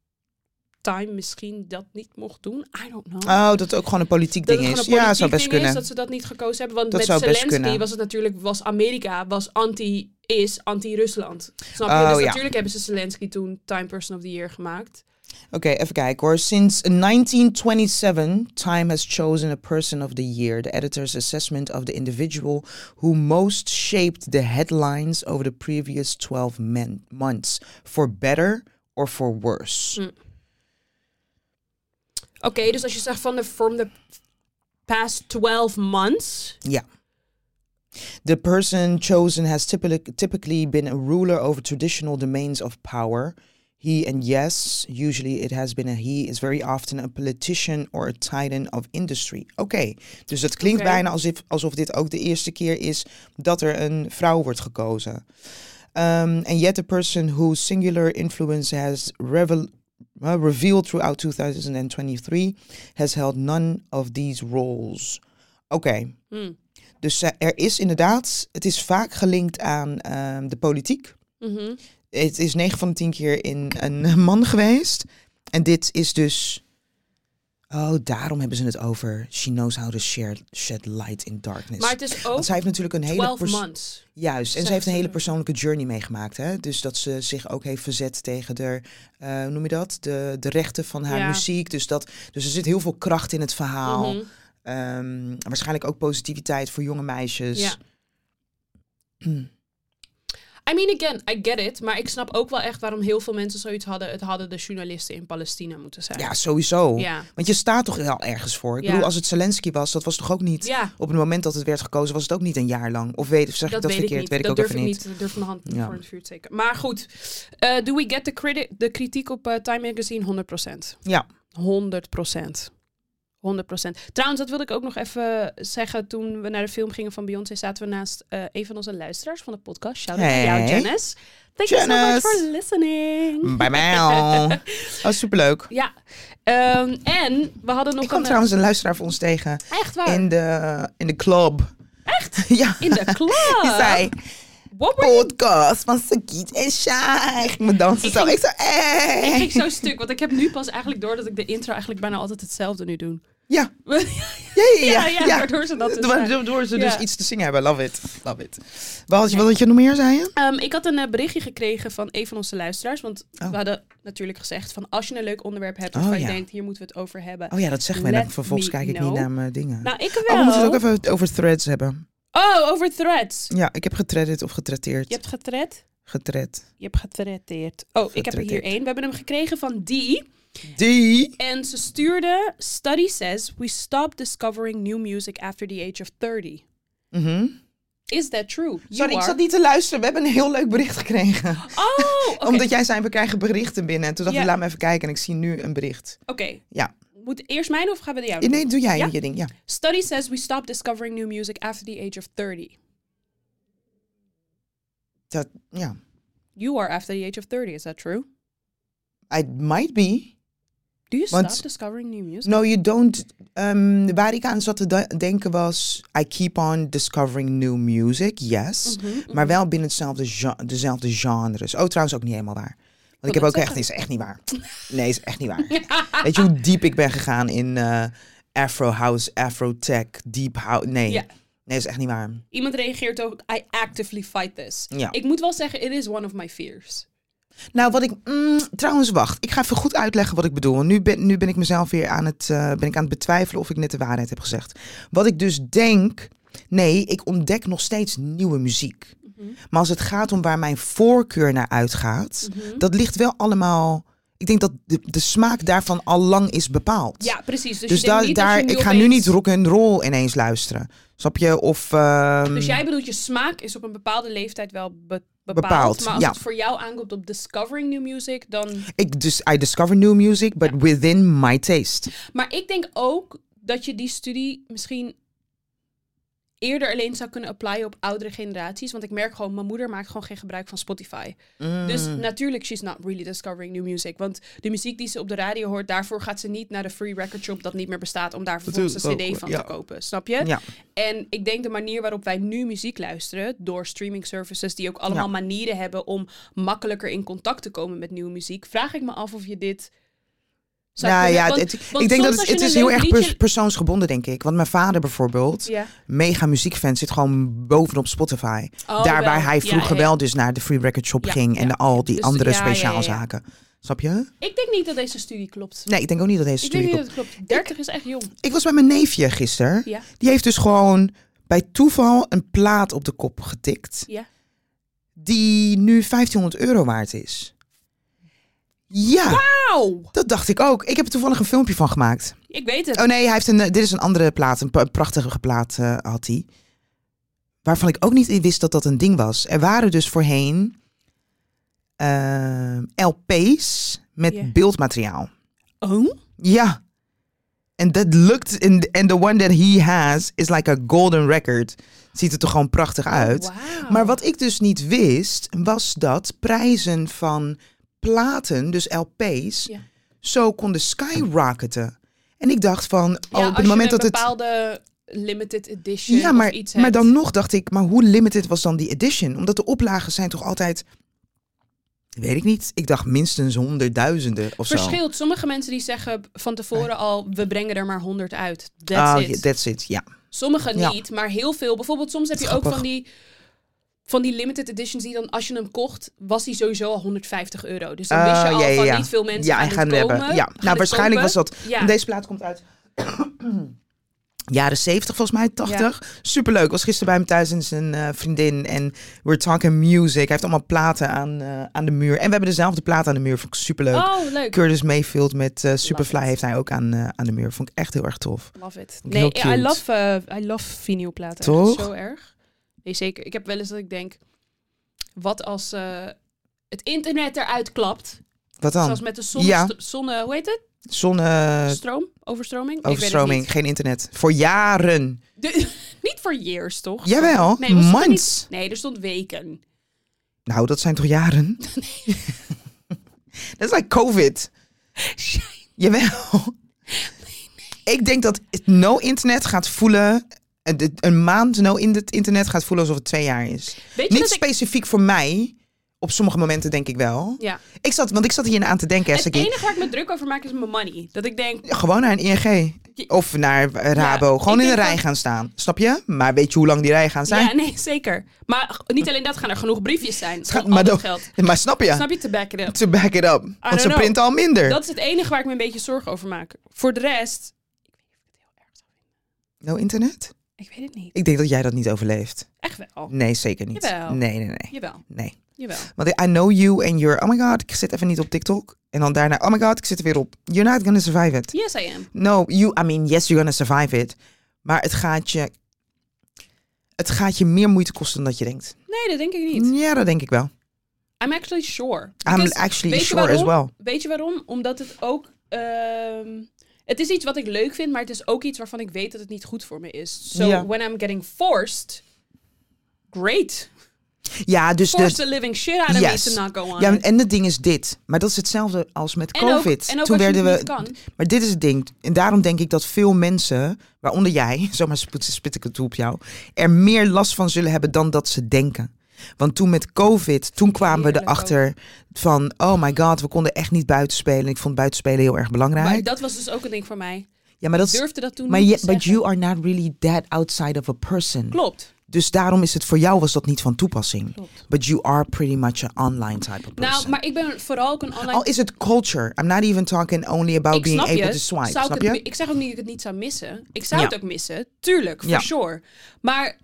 [SPEAKER 1] Time misschien dat niet mocht doen? I don't know.
[SPEAKER 2] Oh, dat het ook gewoon een politiek
[SPEAKER 1] dat het
[SPEAKER 2] ding
[SPEAKER 1] gewoon
[SPEAKER 2] is.
[SPEAKER 1] een
[SPEAKER 2] Ja,
[SPEAKER 1] politiek
[SPEAKER 2] zou best
[SPEAKER 1] ding is,
[SPEAKER 2] kunnen.
[SPEAKER 1] dat ze dat niet gekozen hebben. Want
[SPEAKER 2] Dat
[SPEAKER 1] met
[SPEAKER 2] zou best
[SPEAKER 1] Zelensky
[SPEAKER 2] kunnen.
[SPEAKER 1] was het natuurlijk, was Amerika, was anti, is anti-Rusland. Snap je?
[SPEAKER 2] Oh,
[SPEAKER 1] dus
[SPEAKER 2] ja.
[SPEAKER 1] natuurlijk hebben ze Zelensky toen Time Person of the Year gemaakt.
[SPEAKER 2] Oké, even kijken hoor. Sinds 1927, Time has chosen a person of the year. The editor's assessment of the individual who most shaped the headlines over the previous 12 men- months. For better or for worse.
[SPEAKER 1] Hm. Oké, dus als je zegt van de from the past 12 months.
[SPEAKER 2] The person chosen has typically, typically been a ruler over traditional domains of power. He and yes, usually it has been a he, is very often a politician or a titan of industry. Oké, dus dat klinkt
[SPEAKER 1] Oké.
[SPEAKER 2] bijna alsof, alsof dit ook de eerste keer is dat er een vrouw wordt gekozen. Um, and yet a person whose singular influence has revel uh, revealed throughout 2023 has held none of these roles. Oké.
[SPEAKER 1] Hm.
[SPEAKER 2] Dus eh, er is inderdaad, het is vaak gelinkt aan ehm, de politiek.
[SPEAKER 1] Mhm.
[SPEAKER 2] Het is 9 van de 10 keer in een man geweest. En dit is dus. Oh, daarom hebben ze het over. She knows how to share, shed light in darkness.
[SPEAKER 1] Maar het is ook
[SPEAKER 2] Want zij heeft natuurlijk een hele.
[SPEAKER 1] 12
[SPEAKER 2] pers-
[SPEAKER 1] months.
[SPEAKER 2] Juist. En
[SPEAKER 1] zegt
[SPEAKER 2] ze heeft een
[SPEAKER 1] ze.
[SPEAKER 2] hele persoonlijke journey meegemaakt. Hè? Dus dat ze zich ook heeft verzet tegen de. eh, hoe noem je dat? De, de rechten van haar
[SPEAKER 1] Ja.
[SPEAKER 2] muziek. Dus, dat, dus er zit heel veel kracht in het verhaal.
[SPEAKER 1] Mhm.
[SPEAKER 2] Ehm, waarschijnlijk ook positiviteit voor jonge meisjes.
[SPEAKER 1] Ja. I mean, again, I get it. Maar ik snap ook wel echt waarom heel veel mensen zoiets hadden. Het hadden de journalisten in Palestina moeten zijn.
[SPEAKER 2] Ja, sowieso.
[SPEAKER 1] Ja.
[SPEAKER 2] Want je staat toch wel ergens voor. Ik
[SPEAKER 1] Ja.
[SPEAKER 2] bedoel, als het Zelensky was, dat was toch ook niet.
[SPEAKER 1] Ja,
[SPEAKER 2] Op het moment dat het werd gekozen, was het ook niet een jaar lang. Of, weet, of zeg
[SPEAKER 1] dat,
[SPEAKER 2] ik dat
[SPEAKER 1] weet ik
[SPEAKER 2] verkeerd?
[SPEAKER 1] niet.
[SPEAKER 2] Weet ik
[SPEAKER 1] dat
[SPEAKER 2] ook
[SPEAKER 1] durf
[SPEAKER 2] even
[SPEAKER 1] ik
[SPEAKER 2] niet.
[SPEAKER 1] niet. Dat durf mijn hand niet
[SPEAKER 2] Ja.
[SPEAKER 1] voor in het vuur te steken. Maar goed, eh, do we get the credit, de kritiek op eh, Time Magazine? 100%.
[SPEAKER 2] Ja.
[SPEAKER 1] 100%. 100%. Trouwens, dat wilde ik ook nog even zeggen. Toen we naar de film gingen van Beyoncé, zaten we naast eh, een van onze luisteraars van de podcast. Shout out
[SPEAKER 2] Hey.
[SPEAKER 1] naar jou, Janice. Thank you so much
[SPEAKER 2] Janice.
[SPEAKER 1] for listening.
[SPEAKER 2] Bij mij al. Oh, superleuk.
[SPEAKER 1] Ja. Ehm, en we hadden nog een...
[SPEAKER 2] Ik kwam
[SPEAKER 1] eh, Oh.
[SPEAKER 2] trouwens een luisteraar voor ons tegen.
[SPEAKER 1] Echt waar.
[SPEAKER 2] In de, in de club. Echt? ja.
[SPEAKER 1] In de club.
[SPEAKER 2] Die zei,
[SPEAKER 1] What were you-
[SPEAKER 2] podcast van Sakiet en Shai. Ik moet dansen
[SPEAKER 1] Ik
[SPEAKER 2] zo.
[SPEAKER 1] ging-
[SPEAKER 2] Ik zo, "Eh." hey.
[SPEAKER 1] Ik zo stuk, want ik heb nu pas eigenlijk door dat ik de intro eigenlijk bijna altijd hetzelfde nu doe.
[SPEAKER 2] Ja.
[SPEAKER 1] ja,
[SPEAKER 2] Ja, ja, ja.
[SPEAKER 1] ja,
[SPEAKER 2] ja.
[SPEAKER 1] waardoor ze dat dus
[SPEAKER 2] Door-
[SPEAKER 1] zei.
[SPEAKER 2] Eh, door- door ze
[SPEAKER 1] Ja.
[SPEAKER 2] dus iets te zingen hebben. Love it. Love it. Wat had je, wat had je nog meer, zei je?
[SPEAKER 1] Ehm, ik had een eh, berichtje gekregen van een van onze luisteraars, want
[SPEAKER 2] Oh.
[SPEAKER 1] we hadden natuurlijk gezegd van als je een leuk onderwerp hebt waarvan
[SPEAKER 2] Oh,
[SPEAKER 1] je
[SPEAKER 2] ja.
[SPEAKER 1] denkt, hier moeten we het over hebben.
[SPEAKER 2] Oh ja, dat zeggen wij.
[SPEAKER 1] Let
[SPEAKER 2] dan. Vervolgens
[SPEAKER 1] me
[SPEAKER 2] kijk ik
[SPEAKER 1] know.
[SPEAKER 2] niet naar mijn dingen.
[SPEAKER 1] Nou, ik
[SPEAKER 2] Oh,
[SPEAKER 1] wel.
[SPEAKER 2] we moeten het ook even over threads hebben.
[SPEAKER 1] Oh, over threads.
[SPEAKER 2] Ja, ik heb getredded of getretteerd.
[SPEAKER 1] Je hebt getred?
[SPEAKER 2] Getred.
[SPEAKER 1] Je hebt getreddeerd. Oh, ik heb er hier
[SPEAKER 2] Getreddeerd.
[SPEAKER 1] één. We hebben hem gekregen van die.
[SPEAKER 2] Die.
[SPEAKER 1] En ze stuurde, study says we stop discovering new music after the age of 30.
[SPEAKER 2] Mhm.
[SPEAKER 1] Is that true? You
[SPEAKER 2] Sorry, ik
[SPEAKER 1] are-
[SPEAKER 2] zat niet te luisteren. We hebben een heel leuk bericht gekregen.
[SPEAKER 1] Oh, oké.
[SPEAKER 2] Omdat jij zei, we krijgen berichten binnen. En toen dacht
[SPEAKER 1] Ja.
[SPEAKER 2] ik, laat me even kijken. En ik zie nu een bericht.
[SPEAKER 1] Oké.
[SPEAKER 2] Ja.
[SPEAKER 1] Moet eerst mijn of gaan we de jou? doen?
[SPEAKER 2] Nee, doe jij
[SPEAKER 1] Ja?
[SPEAKER 2] je ding. Ja.
[SPEAKER 1] Study says we stop discovering new music after the age of 30.
[SPEAKER 2] Dat, ja.
[SPEAKER 1] You are after the age of 30, is that true?
[SPEAKER 2] It might be.
[SPEAKER 1] Do you
[SPEAKER 2] Want-
[SPEAKER 1] stop discovering new music?
[SPEAKER 2] No, you don't. ehm, waar ik aan zat te da- denken was, I keep on discovering new music. Yes. Maar wel binnen hetzelfde gen- dezelfde genres. Oh, trouwens ook niet helemaal waar. Want ik
[SPEAKER 1] Ik
[SPEAKER 2] heb
[SPEAKER 1] wil
[SPEAKER 2] ook
[SPEAKER 1] net
[SPEAKER 2] echt, is echt niet waar. Nee, is echt niet waar. Weet je hoe diep ik ben gegaan in eh, Afro House, Afro Tech, Deep House? Nee.
[SPEAKER 1] Ja.
[SPEAKER 2] Nee, dat is echt niet waar.
[SPEAKER 1] Iemand reageert ook, I actively fight this.
[SPEAKER 2] Ja.
[SPEAKER 1] Ik moet wel zeggen, it is one of my fears.
[SPEAKER 2] Nou, wat ik. mm, trouwens, wacht. Ik ga even goed uitleggen wat ik bedoel. Want Nu ben, nu ben ik mezelf weer aan het, eh, ben ik aan het betwijfelen of ik net de waarheid heb gezegd. Wat ik dus denk. Nee, ik ontdek nog steeds nieuwe muziek.
[SPEAKER 1] Mhm.
[SPEAKER 2] Maar als het gaat om waar mijn voorkeur naar uitgaat,
[SPEAKER 1] Mhm.
[SPEAKER 2] dat ligt wel allemaal. Ik denk dat de, de smaak daarvan al lang is bepaald.
[SPEAKER 1] Ja, precies. Dus,
[SPEAKER 2] dus
[SPEAKER 1] je denkt
[SPEAKER 2] daar,
[SPEAKER 1] niet
[SPEAKER 2] daar,
[SPEAKER 1] dat je
[SPEAKER 2] ik ga nu
[SPEAKER 1] opeens-
[SPEAKER 2] niet rock and roll ineens luisteren. Snap je? Of. ehm,
[SPEAKER 1] Dus jij bedoelt, je smaak is op een bepaalde leeftijd wel be- bepaald.
[SPEAKER 2] Bepaald,
[SPEAKER 1] maar als
[SPEAKER 2] ja.
[SPEAKER 1] het voor jou aankomt op discovering new music, dan...
[SPEAKER 2] Ik, dus I discover new music, but within my taste.
[SPEAKER 1] Maar ik denk ook dat je die studie misschien eerder alleen zou kunnen applyen op oudere generaties. Want ik merk gewoon, mijn moeder maakt gewoon geen gebruik van Spotify.
[SPEAKER 2] Mm,
[SPEAKER 1] Dus
[SPEAKER 2] Hmm.
[SPEAKER 1] natuurlijk, she's not really discovering new music. Want de muziek die ze op de radio hoort, daarvoor gaat ze niet naar de free record shop dat niet meer bestaat. Om daar vervolgens een
[SPEAKER 2] Natuurlijk
[SPEAKER 1] cd
[SPEAKER 2] ook,
[SPEAKER 1] van
[SPEAKER 2] ja.
[SPEAKER 1] te kopen. Snap je?
[SPEAKER 2] Ja.
[SPEAKER 1] En ik denk de manier waarop wij nu muziek luisteren, door streaming services die ook allemaal
[SPEAKER 2] Ja.
[SPEAKER 1] manieren hebben om makkelijker in contact te komen met nieuwe muziek, vraag ik me af of je dit. zou
[SPEAKER 2] Nou
[SPEAKER 1] kunnen-
[SPEAKER 2] ja,
[SPEAKER 1] want-
[SPEAKER 2] het, het-
[SPEAKER 1] want
[SPEAKER 2] ik denk
[SPEAKER 1] soms
[SPEAKER 2] dat
[SPEAKER 1] als
[SPEAKER 2] het,
[SPEAKER 1] je
[SPEAKER 2] het
[SPEAKER 1] een
[SPEAKER 2] is heel
[SPEAKER 1] leuk
[SPEAKER 2] erg
[SPEAKER 1] liedje-
[SPEAKER 2] pers- persoonsgebonden, denk ik. Want mijn vader bijvoorbeeld,
[SPEAKER 1] Ja.
[SPEAKER 2] mega muziekfan, zit gewoon bovenop Spotify.
[SPEAKER 1] Oh,
[SPEAKER 2] Daar waar
[SPEAKER 1] wel.
[SPEAKER 2] hij
[SPEAKER 1] Ja,
[SPEAKER 2] vroeger
[SPEAKER 1] ja.
[SPEAKER 2] wel dus naar de Free Record Shop
[SPEAKER 1] Ja,
[SPEAKER 2] ging en
[SPEAKER 1] ja.
[SPEAKER 2] al die
[SPEAKER 1] Dus-
[SPEAKER 2] andere
[SPEAKER 1] ja, ja, ja, ja.
[SPEAKER 2] speciaalzaken. Snap je?
[SPEAKER 1] Ik denk niet dat deze studie klopt.
[SPEAKER 2] Nee, ik denk ook niet dat deze
[SPEAKER 1] ik denk
[SPEAKER 2] studie
[SPEAKER 1] niet
[SPEAKER 2] klopt.
[SPEAKER 1] dat het klopt. 30 is echt jong.
[SPEAKER 2] Ik was bij mijn neefje gisteren.
[SPEAKER 1] Ja.
[SPEAKER 2] Die heeft dus gewoon bij toeval een plaat op de kop getikt.
[SPEAKER 1] Ja.
[SPEAKER 2] Die nu 1500 euro waard is. Ja,
[SPEAKER 1] Auw!
[SPEAKER 2] dat dacht ik ook. Ik heb er toevallig een filmpje van gemaakt.
[SPEAKER 1] Ik weet het.
[SPEAKER 2] Oh nee, hij heeft een, eh, dit is een andere plaat. Een, pa- een prachtige plaat eh, had hij. Waarvan ik ook niet wist dat dat een ding was. Er waren dus voorheen ehm, LP's met
[SPEAKER 1] Ja.
[SPEAKER 2] beeldmateriaal.
[SPEAKER 1] Oh?
[SPEAKER 2] Ja. En dat lukt. En and the one that he has is like a golden record. Ziet er toch gewoon prachtig uit.
[SPEAKER 1] Wauw.
[SPEAKER 2] Maar wat ik dus niet wist, was dat prijzen van platen, dus LP's,
[SPEAKER 1] Ja.
[SPEAKER 2] zo konden skyrocketen. En ik dacht van,
[SPEAKER 1] Ja,
[SPEAKER 2] oh, op
[SPEAKER 1] als
[SPEAKER 2] het moment
[SPEAKER 1] je een
[SPEAKER 2] dat het...
[SPEAKER 1] bepaalde limited edition
[SPEAKER 2] Ja, maar,
[SPEAKER 1] of iets
[SPEAKER 2] maar
[SPEAKER 1] hebt.
[SPEAKER 2] dan nog dacht ik, maar hoe limited was dan die edition? Omdat de oplagen zijn toch altijd... Weet ik niet. Ik dacht minstens honderdduizenden of zo.
[SPEAKER 1] Verschilt. Sommige mensen die zeggen van tevoren al, we brengen er maar 100 uit. That's
[SPEAKER 2] Ah,
[SPEAKER 1] it.
[SPEAKER 2] yeah, that's it, ja.
[SPEAKER 1] Sommige
[SPEAKER 2] Ja.
[SPEAKER 1] niet, maar heel veel. Bijvoorbeeld soms heb je ook
[SPEAKER 2] Grappig.
[SPEAKER 1] van die, van die limited editions die dan als je hem kocht, was die sowieso al 150 euro. Dus dan
[SPEAKER 2] Ah,
[SPEAKER 1] wist je al
[SPEAKER 2] ja, ja,
[SPEAKER 1] van
[SPEAKER 2] ja.
[SPEAKER 1] niet veel mensen
[SPEAKER 2] Ja,
[SPEAKER 1] gaan
[SPEAKER 2] en
[SPEAKER 1] dit
[SPEAKER 2] gaan we
[SPEAKER 1] komen.
[SPEAKER 2] hebben. Ja.
[SPEAKER 1] gaan
[SPEAKER 2] Nou,
[SPEAKER 1] dit
[SPEAKER 2] waarschijnlijk
[SPEAKER 1] kopen.
[SPEAKER 2] was dat-
[SPEAKER 1] Ja.
[SPEAKER 2] Deze plaat komt uit jaren 70 volgens mij, 80. Superleuk. Was gisteren bij hem thuis en zijn eh, vriendin. En we're talking music. Hij heeft allemaal platen aan, eh, aan de muur. En we hebben dezelfde plaat aan de muur. Vond ik superleuk.
[SPEAKER 1] Oh, leuk.
[SPEAKER 2] Curtis Mayfield met eh, Superfly
[SPEAKER 1] it.
[SPEAKER 2] heeft hij ook aan, eh, aan de muur. Vond ik echt heel erg tof.
[SPEAKER 1] Love it.
[SPEAKER 2] Heel
[SPEAKER 1] Nee, I
[SPEAKER 2] cute.
[SPEAKER 1] love, eh, I love vinylplaten.
[SPEAKER 2] Toch?
[SPEAKER 1] Echt Zo erg. Nee, zeker. Ik heb wel eens dat ik denk, wat als eh, het internet eruit klapt,
[SPEAKER 2] Wat dan?
[SPEAKER 1] zoals met de zonne,
[SPEAKER 2] Ja.
[SPEAKER 1] zonne hoe heet het?
[SPEAKER 2] Zonne...
[SPEAKER 1] Stroom? Overstroming? Ik
[SPEAKER 2] Overstroming,
[SPEAKER 1] weet
[SPEAKER 2] geen internet. Voor jaren.
[SPEAKER 1] het niet. De- niet voor years, toch?
[SPEAKER 2] Jawel,
[SPEAKER 1] Nee, was het er
[SPEAKER 2] months.
[SPEAKER 1] niet- Nee, er stond weken.
[SPEAKER 2] Nou, dat zijn toch jaren? dat is like COVID. Jawel. Ik denk dat het no internet gaat voelen. een- Een maand no in het internet gaat voelen alsof het twee jaar is.
[SPEAKER 1] Weet je
[SPEAKER 2] Niet
[SPEAKER 1] dat ik...
[SPEAKER 2] specifiek voor mij. Op sommige momenten denk ik wel.
[SPEAKER 1] Ja.
[SPEAKER 2] Ik zat, want ik zat hierna aan te denken.
[SPEAKER 1] Het
[SPEAKER 2] Esther, ik-
[SPEAKER 1] enige waar ik me druk over maak is mijn money. Dat ik denk,
[SPEAKER 2] Gewoon naar een ING. Of naar eh, Rabo.
[SPEAKER 1] ik
[SPEAKER 2] Gewoon in de
[SPEAKER 1] denk
[SPEAKER 2] rij
[SPEAKER 1] dat-
[SPEAKER 2] gaan staan. Snap je? Maar weet je hoe lang die rij gaan zijn?
[SPEAKER 1] ja, nee, zeker. Maar g- niet alleen dat, gaan er genoeg briefjes zijn.
[SPEAKER 2] Schat,
[SPEAKER 1] Van al
[SPEAKER 2] maar,
[SPEAKER 1] dat
[SPEAKER 2] dat,
[SPEAKER 1] geld.
[SPEAKER 2] maar snap je?
[SPEAKER 1] Snap je, te back it up.
[SPEAKER 2] To back it up. Want ze
[SPEAKER 1] know.
[SPEAKER 2] printen al minder.
[SPEAKER 1] Dat is het enige waar ik me een beetje zorgen over maak. Voor de rest,
[SPEAKER 2] No internet?
[SPEAKER 1] ik weet het niet.
[SPEAKER 2] Ik denk dat jij dat niet overleeft.
[SPEAKER 1] Echt wel.
[SPEAKER 2] Nee, zeker niet.
[SPEAKER 1] Jawel.
[SPEAKER 2] Nee, nee, nee.
[SPEAKER 1] Jawel,
[SPEAKER 2] Nee.
[SPEAKER 1] jawel.
[SPEAKER 2] Want I know you and you're, oh my god, ik zit even niet op TikTok. En dan daarna, oh my god, ik zit er weer op. You're not gonna survive it.
[SPEAKER 1] Yes, I am.
[SPEAKER 2] No, you, I mean, yes, you're gonna survive it. Maar het gaat je, het gaat je meer moeite kosten dan dat je denkt.
[SPEAKER 1] Nee, dat denk ik niet.
[SPEAKER 2] Ja, dat denk ik wel.
[SPEAKER 1] I'm actually sure.
[SPEAKER 2] I'm
[SPEAKER 1] Because-
[SPEAKER 2] actually
[SPEAKER 1] weet je
[SPEAKER 2] sure as
[SPEAKER 1] waarom?
[SPEAKER 2] well.
[SPEAKER 1] Weet je waarom? Omdat het ook... ehm, het is iets wat ik leuk vind, maar het is ook iets waarvan ik weet dat het niet goed voor me is. So
[SPEAKER 2] Ja.
[SPEAKER 1] when I'm getting forced, great.
[SPEAKER 2] Ja, dus
[SPEAKER 1] Forced
[SPEAKER 2] de,
[SPEAKER 1] the living shit out of
[SPEAKER 2] Yes.
[SPEAKER 1] me to not go on.
[SPEAKER 2] ja,
[SPEAKER 1] it.
[SPEAKER 2] en het ding is dit. Maar dat is hetzelfde als met
[SPEAKER 1] En ook-
[SPEAKER 2] COVID.
[SPEAKER 1] en ook
[SPEAKER 2] Toen
[SPEAKER 1] als je
[SPEAKER 2] werden
[SPEAKER 1] het
[SPEAKER 2] we,
[SPEAKER 1] niet kan.
[SPEAKER 2] Maar dit is het ding. En daarom denk ik dat veel mensen, waaronder jij, zomaar spit, spit ik het toe op jou, er meer last van zullen hebben dan dat ze denken. Want toen met COVID, toen kwamen we
[SPEAKER 1] Heerlijk
[SPEAKER 2] erachter van, oh my god, we konden echt niet buitenspelen. Ik vond buitenspelen heel erg belangrijk.
[SPEAKER 1] Maar dat was dus ook een ding voor mij.
[SPEAKER 2] Ja, maar dat is...
[SPEAKER 1] Durfde dat toen
[SPEAKER 2] Maar
[SPEAKER 1] niet
[SPEAKER 2] je-
[SPEAKER 1] te
[SPEAKER 2] but
[SPEAKER 1] zeggen.
[SPEAKER 2] you are not really that outside of a person.
[SPEAKER 1] Klopt.
[SPEAKER 2] Dus daarom is het voor jou was dat niet van toepassing.
[SPEAKER 1] Klopt.
[SPEAKER 2] But you are pretty much an online type of person.
[SPEAKER 1] Nou, maar ik ben vooral ook een online...
[SPEAKER 2] Al is het culture. I'm not even talking only about
[SPEAKER 1] ik
[SPEAKER 2] Oh, being
[SPEAKER 1] snap
[SPEAKER 2] able
[SPEAKER 1] je.
[SPEAKER 2] to swipe.
[SPEAKER 1] Zou ik
[SPEAKER 2] snap
[SPEAKER 1] het
[SPEAKER 2] je?
[SPEAKER 1] mi- ik zeg ook niet dat ik het niet zou missen. Ik zou
[SPEAKER 2] Ja.
[SPEAKER 1] het ook missen, tuurlijk, for
[SPEAKER 2] Ja.
[SPEAKER 1] sure. Maar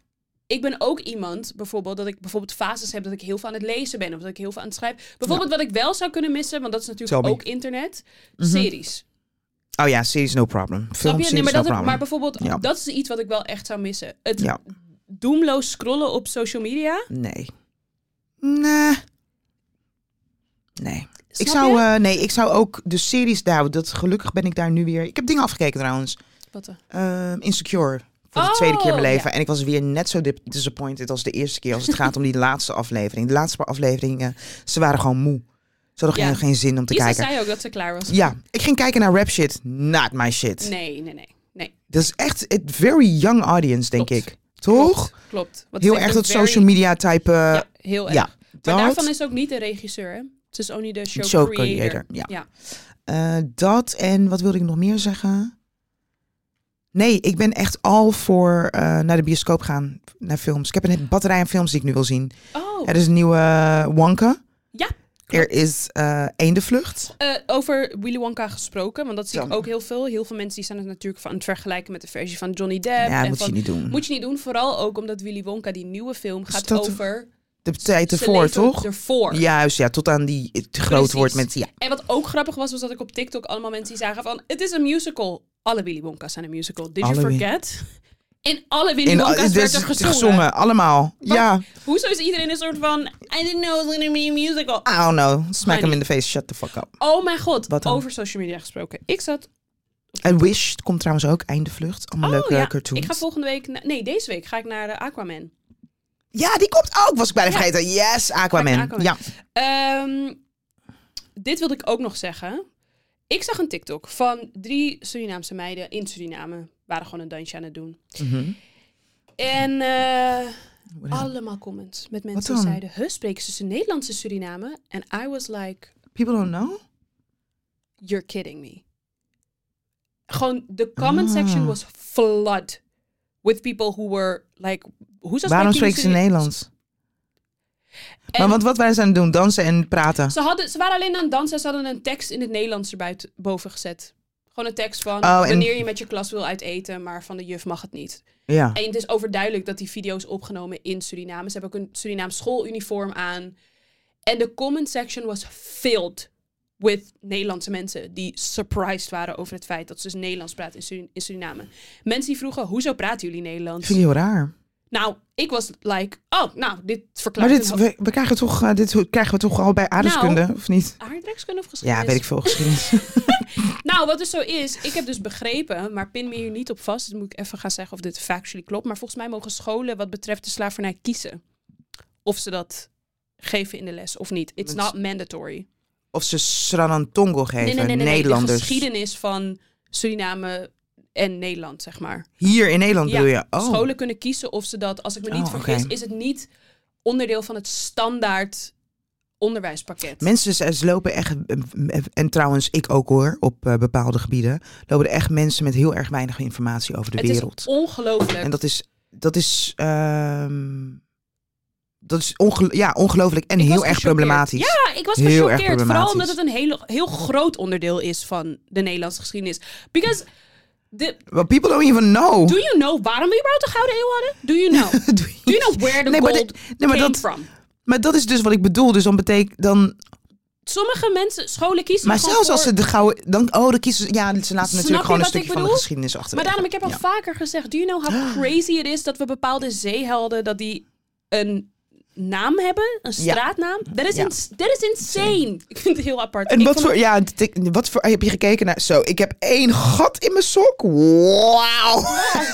[SPEAKER 1] ik ben ook iemand, bijvoorbeeld, dat ik bijvoorbeeld fases heb dat ik heel veel aan het lezen ben of dat ik heel veel aan het schrijven. Bijvoorbeeld wat ik wel zou kunnen missen, want dat is natuurlijk
[SPEAKER 2] Tell me.
[SPEAKER 1] ook internet, series.
[SPEAKER 2] Oh ja, series no problem. Film
[SPEAKER 1] Snap
[SPEAKER 2] series
[SPEAKER 1] je? Nee, maar,
[SPEAKER 2] no
[SPEAKER 1] dat,
[SPEAKER 2] problem.
[SPEAKER 1] maar bijvoorbeeld,
[SPEAKER 2] Ja.
[SPEAKER 1] dat is iets wat ik wel echt zou missen. Het
[SPEAKER 2] Ja.
[SPEAKER 1] doemloos scrollen op social media.
[SPEAKER 2] Nee. Nee. Nee.
[SPEAKER 1] Snap
[SPEAKER 2] ik zou,
[SPEAKER 1] je?
[SPEAKER 2] eh, nee, ik zou ook de series daar, dat gelukkig ben ik daar nu weer. Ik heb dingen afgekeken trouwens.
[SPEAKER 1] Wat dan?
[SPEAKER 2] Ehm, Insecure. Voor de
[SPEAKER 1] Oh,
[SPEAKER 2] tweede keer in mijn leven.
[SPEAKER 1] ja.
[SPEAKER 2] En ik was weer net zo dip- disappointed als de eerste keer. Als het gaat om die laatste aflevering. De laatste paar afleveringen, ze waren gewoon moe. Ze hadden
[SPEAKER 1] Ja.
[SPEAKER 2] geen, geen zin om te
[SPEAKER 1] Isa
[SPEAKER 2] kijken.
[SPEAKER 1] zei ook dat ze klaar was.
[SPEAKER 2] Ja, ik ging kijken naar rap shit. Not my shit.
[SPEAKER 1] Nee, nee, nee. nee.
[SPEAKER 2] Dat is echt een very young audience, denk
[SPEAKER 1] Klopt.
[SPEAKER 2] ik. Toch?
[SPEAKER 1] Klopt. Klopt. Want
[SPEAKER 2] Heel
[SPEAKER 1] het is
[SPEAKER 2] erg dat
[SPEAKER 1] een very-
[SPEAKER 2] social media type. eh,
[SPEAKER 1] Ja, heel erg.
[SPEAKER 2] ja,
[SPEAKER 1] Maar
[SPEAKER 2] dat-
[SPEAKER 1] daarvan is ook niet de regisseur, hè? Het is ook niet de show,
[SPEAKER 2] Show
[SPEAKER 1] creator.
[SPEAKER 2] creator, ja.
[SPEAKER 1] ja.
[SPEAKER 2] Eh, dat en wat wilde ik nog meer zeggen? Nee, ik ben echt al voor eh, naar de bioscoop gaan, naar films. Ik heb een batterij aan films die ik nu wil zien.
[SPEAKER 1] Oh,
[SPEAKER 2] Er is een nieuwe eh, Wonka.
[SPEAKER 1] Ja,
[SPEAKER 2] Er is eh Eendevlucht.
[SPEAKER 1] eh, over Willy Wonka gesproken, want dat zie ik
[SPEAKER 2] Dan.
[SPEAKER 1] ook heel veel. Heel veel mensen die zijn het natuurlijk van aan het vergelijken met de versie van Johnny Depp.
[SPEAKER 2] Ja,
[SPEAKER 1] en
[SPEAKER 2] dat moet
[SPEAKER 1] van-
[SPEAKER 2] je niet doen.
[SPEAKER 1] Moet je niet doen, vooral ook omdat Willy Wonka, die nieuwe film, gaat
[SPEAKER 2] dat-
[SPEAKER 1] over...
[SPEAKER 2] de tijd
[SPEAKER 1] zijn
[SPEAKER 2] ervoor,
[SPEAKER 1] leven
[SPEAKER 2] toch?
[SPEAKER 1] Ervoor.
[SPEAKER 2] Juist, ja, tot aan die het groot
[SPEAKER 1] Precies.
[SPEAKER 2] wordt met... Ja,
[SPEAKER 1] En wat ook grappig was, was dat ik op TikTok allemaal mensen die zagen van... Het is een musical. Alle Willy Wonka's zijn een musical. Did
[SPEAKER 2] Alle
[SPEAKER 1] you
[SPEAKER 2] Wi-
[SPEAKER 1] forget? In alle Willy
[SPEAKER 2] In-
[SPEAKER 1] Wonka's
[SPEAKER 2] dit
[SPEAKER 1] werd
[SPEAKER 2] is
[SPEAKER 1] er gezongen.
[SPEAKER 2] allemaal.
[SPEAKER 1] Wat?
[SPEAKER 2] Ja,
[SPEAKER 1] Hoezo is iedereen een soort van... I didn't know it was gonna be a musical.
[SPEAKER 2] I don't know. Smack
[SPEAKER 1] Honey.
[SPEAKER 2] hem in de face, shut the fuck up.
[SPEAKER 1] Oh mijn god,
[SPEAKER 2] Wat dan?
[SPEAKER 1] over social media gesproken. Ik zat...
[SPEAKER 2] En Wish het komt trouwens ook, Einde Vlucht. Allemaal
[SPEAKER 1] Oh
[SPEAKER 2] leuke
[SPEAKER 1] ja,
[SPEAKER 2] cartoons.
[SPEAKER 1] ik ga volgende week... na- nee, deze week ga ik naar eh, Aquaman.
[SPEAKER 2] Ja, die komt ook, was ik bijna
[SPEAKER 1] Ja.
[SPEAKER 2] vergeten. Yes, Aquaman.
[SPEAKER 1] Aquaman.
[SPEAKER 2] Ja.
[SPEAKER 1] Ehm, dit wilde ik ook nog zeggen. Ik zag een TikTok van drie Surinaamse meiden in Suriname. Waren gewoon een dansje aan het doen.
[SPEAKER 2] Mhm.
[SPEAKER 1] En eh,
[SPEAKER 2] Wat dan?
[SPEAKER 1] allemaal comments met mensen die
[SPEAKER 2] dan?
[SPEAKER 1] zeiden... Huh, spreken ze tussen Nederlands en Suriname? En I was like,
[SPEAKER 2] People don't know?
[SPEAKER 1] you're kidding me. Gewoon, de comment
[SPEAKER 2] Ah.
[SPEAKER 1] section was flood. With people who were like... Hoezo
[SPEAKER 2] Waarom
[SPEAKER 1] jullie
[SPEAKER 2] spreken ze
[SPEAKER 1] Suriname?"
[SPEAKER 2] Nederlands?
[SPEAKER 1] En-
[SPEAKER 2] Maar want wat waren ze aan het doen? Dansen en praten?
[SPEAKER 1] Ze, hadden, ze waren alleen aan het dansen. Ze hadden een tekst in het Nederlands erboven gezet. Gewoon een tekst van
[SPEAKER 2] Oh, en-
[SPEAKER 1] wanneer je met je klas wil uiteten, maar van de juf mag het niet.
[SPEAKER 2] Ja.
[SPEAKER 1] En het is overduidelijk dat die video is opgenomen in Suriname. Ze hebben ook een Surinaams schooluniform aan. En de comment section was filled with Nederlandse mensen die surprised waren over het feit dat ze dus Nederlands praten in, Suri- in Suriname. Mensen die vroegen, hoezo praten jullie
[SPEAKER 2] Dat
[SPEAKER 1] Nederlands?
[SPEAKER 2] vind ik heel raar.
[SPEAKER 1] Nou, ik was like, oh, nou, dit
[SPEAKER 2] Maar
[SPEAKER 1] verklaart
[SPEAKER 2] dit,
[SPEAKER 1] een ho-
[SPEAKER 2] we, we krijgen toch, eh, dit krijgen we toch al bij aardrijkskunde,
[SPEAKER 1] Nou.
[SPEAKER 2] of niet?
[SPEAKER 1] aardrijkskunde of geschiedenis?
[SPEAKER 2] Ja, weet ik veel geschiedenis.
[SPEAKER 1] Nou, wat dus zo is, ik heb dus begrepen, maar pin me hier niet op vast. Dan moet ik even gaan zeggen of dit factually klopt. Maar volgens mij mogen scholen wat betreft de slavernij kiezen. Of ze dat geven in de les of niet. It's
[SPEAKER 2] Dat is-
[SPEAKER 1] not mandatory.
[SPEAKER 2] of ze Sranantongo geven,
[SPEAKER 1] De
[SPEAKER 2] Nederlanders.
[SPEAKER 1] geschiedenis van Suriname en Nederland, zeg maar.
[SPEAKER 2] Hier in Nederland
[SPEAKER 1] Ja,
[SPEAKER 2] bedoel je? Oh.
[SPEAKER 1] Scholen kunnen kiezen of ze dat, als ik me niet
[SPEAKER 2] Oh,
[SPEAKER 1] vergis,
[SPEAKER 2] oké.
[SPEAKER 1] is het niet onderdeel van het standaard onderwijspakket.
[SPEAKER 2] Mensen dus ze lopen echt, en trouwens ik ook hoor, op eh, bepaalde gebieden, lopen er echt mensen met heel erg weinig informatie over de
[SPEAKER 1] het
[SPEAKER 2] wereld.
[SPEAKER 1] is ongelooflijk.
[SPEAKER 2] En dat is, dat is, ehm, dat is ongel ja, ongelooflijk en
[SPEAKER 1] Ik was
[SPEAKER 2] heel erg
[SPEAKER 1] gechoqueerd.
[SPEAKER 2] problematisch.
[SPEAKER 1] Ja, ik was
[SPEAKER 2] Heel erg
[SPEAKER 1] gechoqueerd. Vooral
[SPEAKER 2] problematisch.
[SPEAKER 1] omdat het een heel, heel groot onderdeel is van de Nederlandse geschiedenis. Because, the,
[SPEAKER 2] Well, people don't even know.
[SPEAKER 1] do you know waarom we überhaupt de Gouden Eeuw hadden? Do you know?
[SPEAKER 2] Doe je-
[SPEAKER 1] Do you know where the
[SPEAKER 2] Nee, maar
[SPEAKER 1] gold
[SPEAKER 2] dit- nee, maar
[SPEAKER 1] came
[SPEAKER 2] dat-
[SPEAKER 1] from?
[SPEAKER 2] Maar dat is dus wat ik bedoel. Dus dan betekent dan.
[SPEAKER 1] Sommige mensen, scholen kiezen
[SPEAKER 2] Maar
[SPEAKER 1] gewoon
[SPEAKER 2] zelfs als
[SPEAKER 1] voor-
[SPEAKER 2] ze de gouden. Dan, oh, dan kiezen ze. Ja, ze laten
[SPEAKER 1] Snap je
[SPEAKER 2] natuurlijk gewoon een
[SPEAKER 1] wat ik
[SPEAKER 2] stukje van de
[SPEAKER 1] bedoel?
[SPEAKER 2] geschiedenis achter.
[SPEAKER 1] Maar daarom, ik heb al vaker gezegd, do you know how crazy it is dat we bepaalde zeehelden, dat die een naam hebben, een
[SPEAKER 2] Ja.
[SPEAKER 1] straatnaam? Dat is,
[SPEAKER 2] Ja.
[SPEAKER 1] ins- that is insane. Ik vind het heel apart.
[SPEAKER 2] En
[SPEAKER 1] Ik
[SPEAKER 2] wat
[SPEAKER 1] vond
[SPEAKER 2] voor, ja, het- ik- wat voor, heb je gekeken naar? Zo, ik heb één gat in mijn sok. Wauw.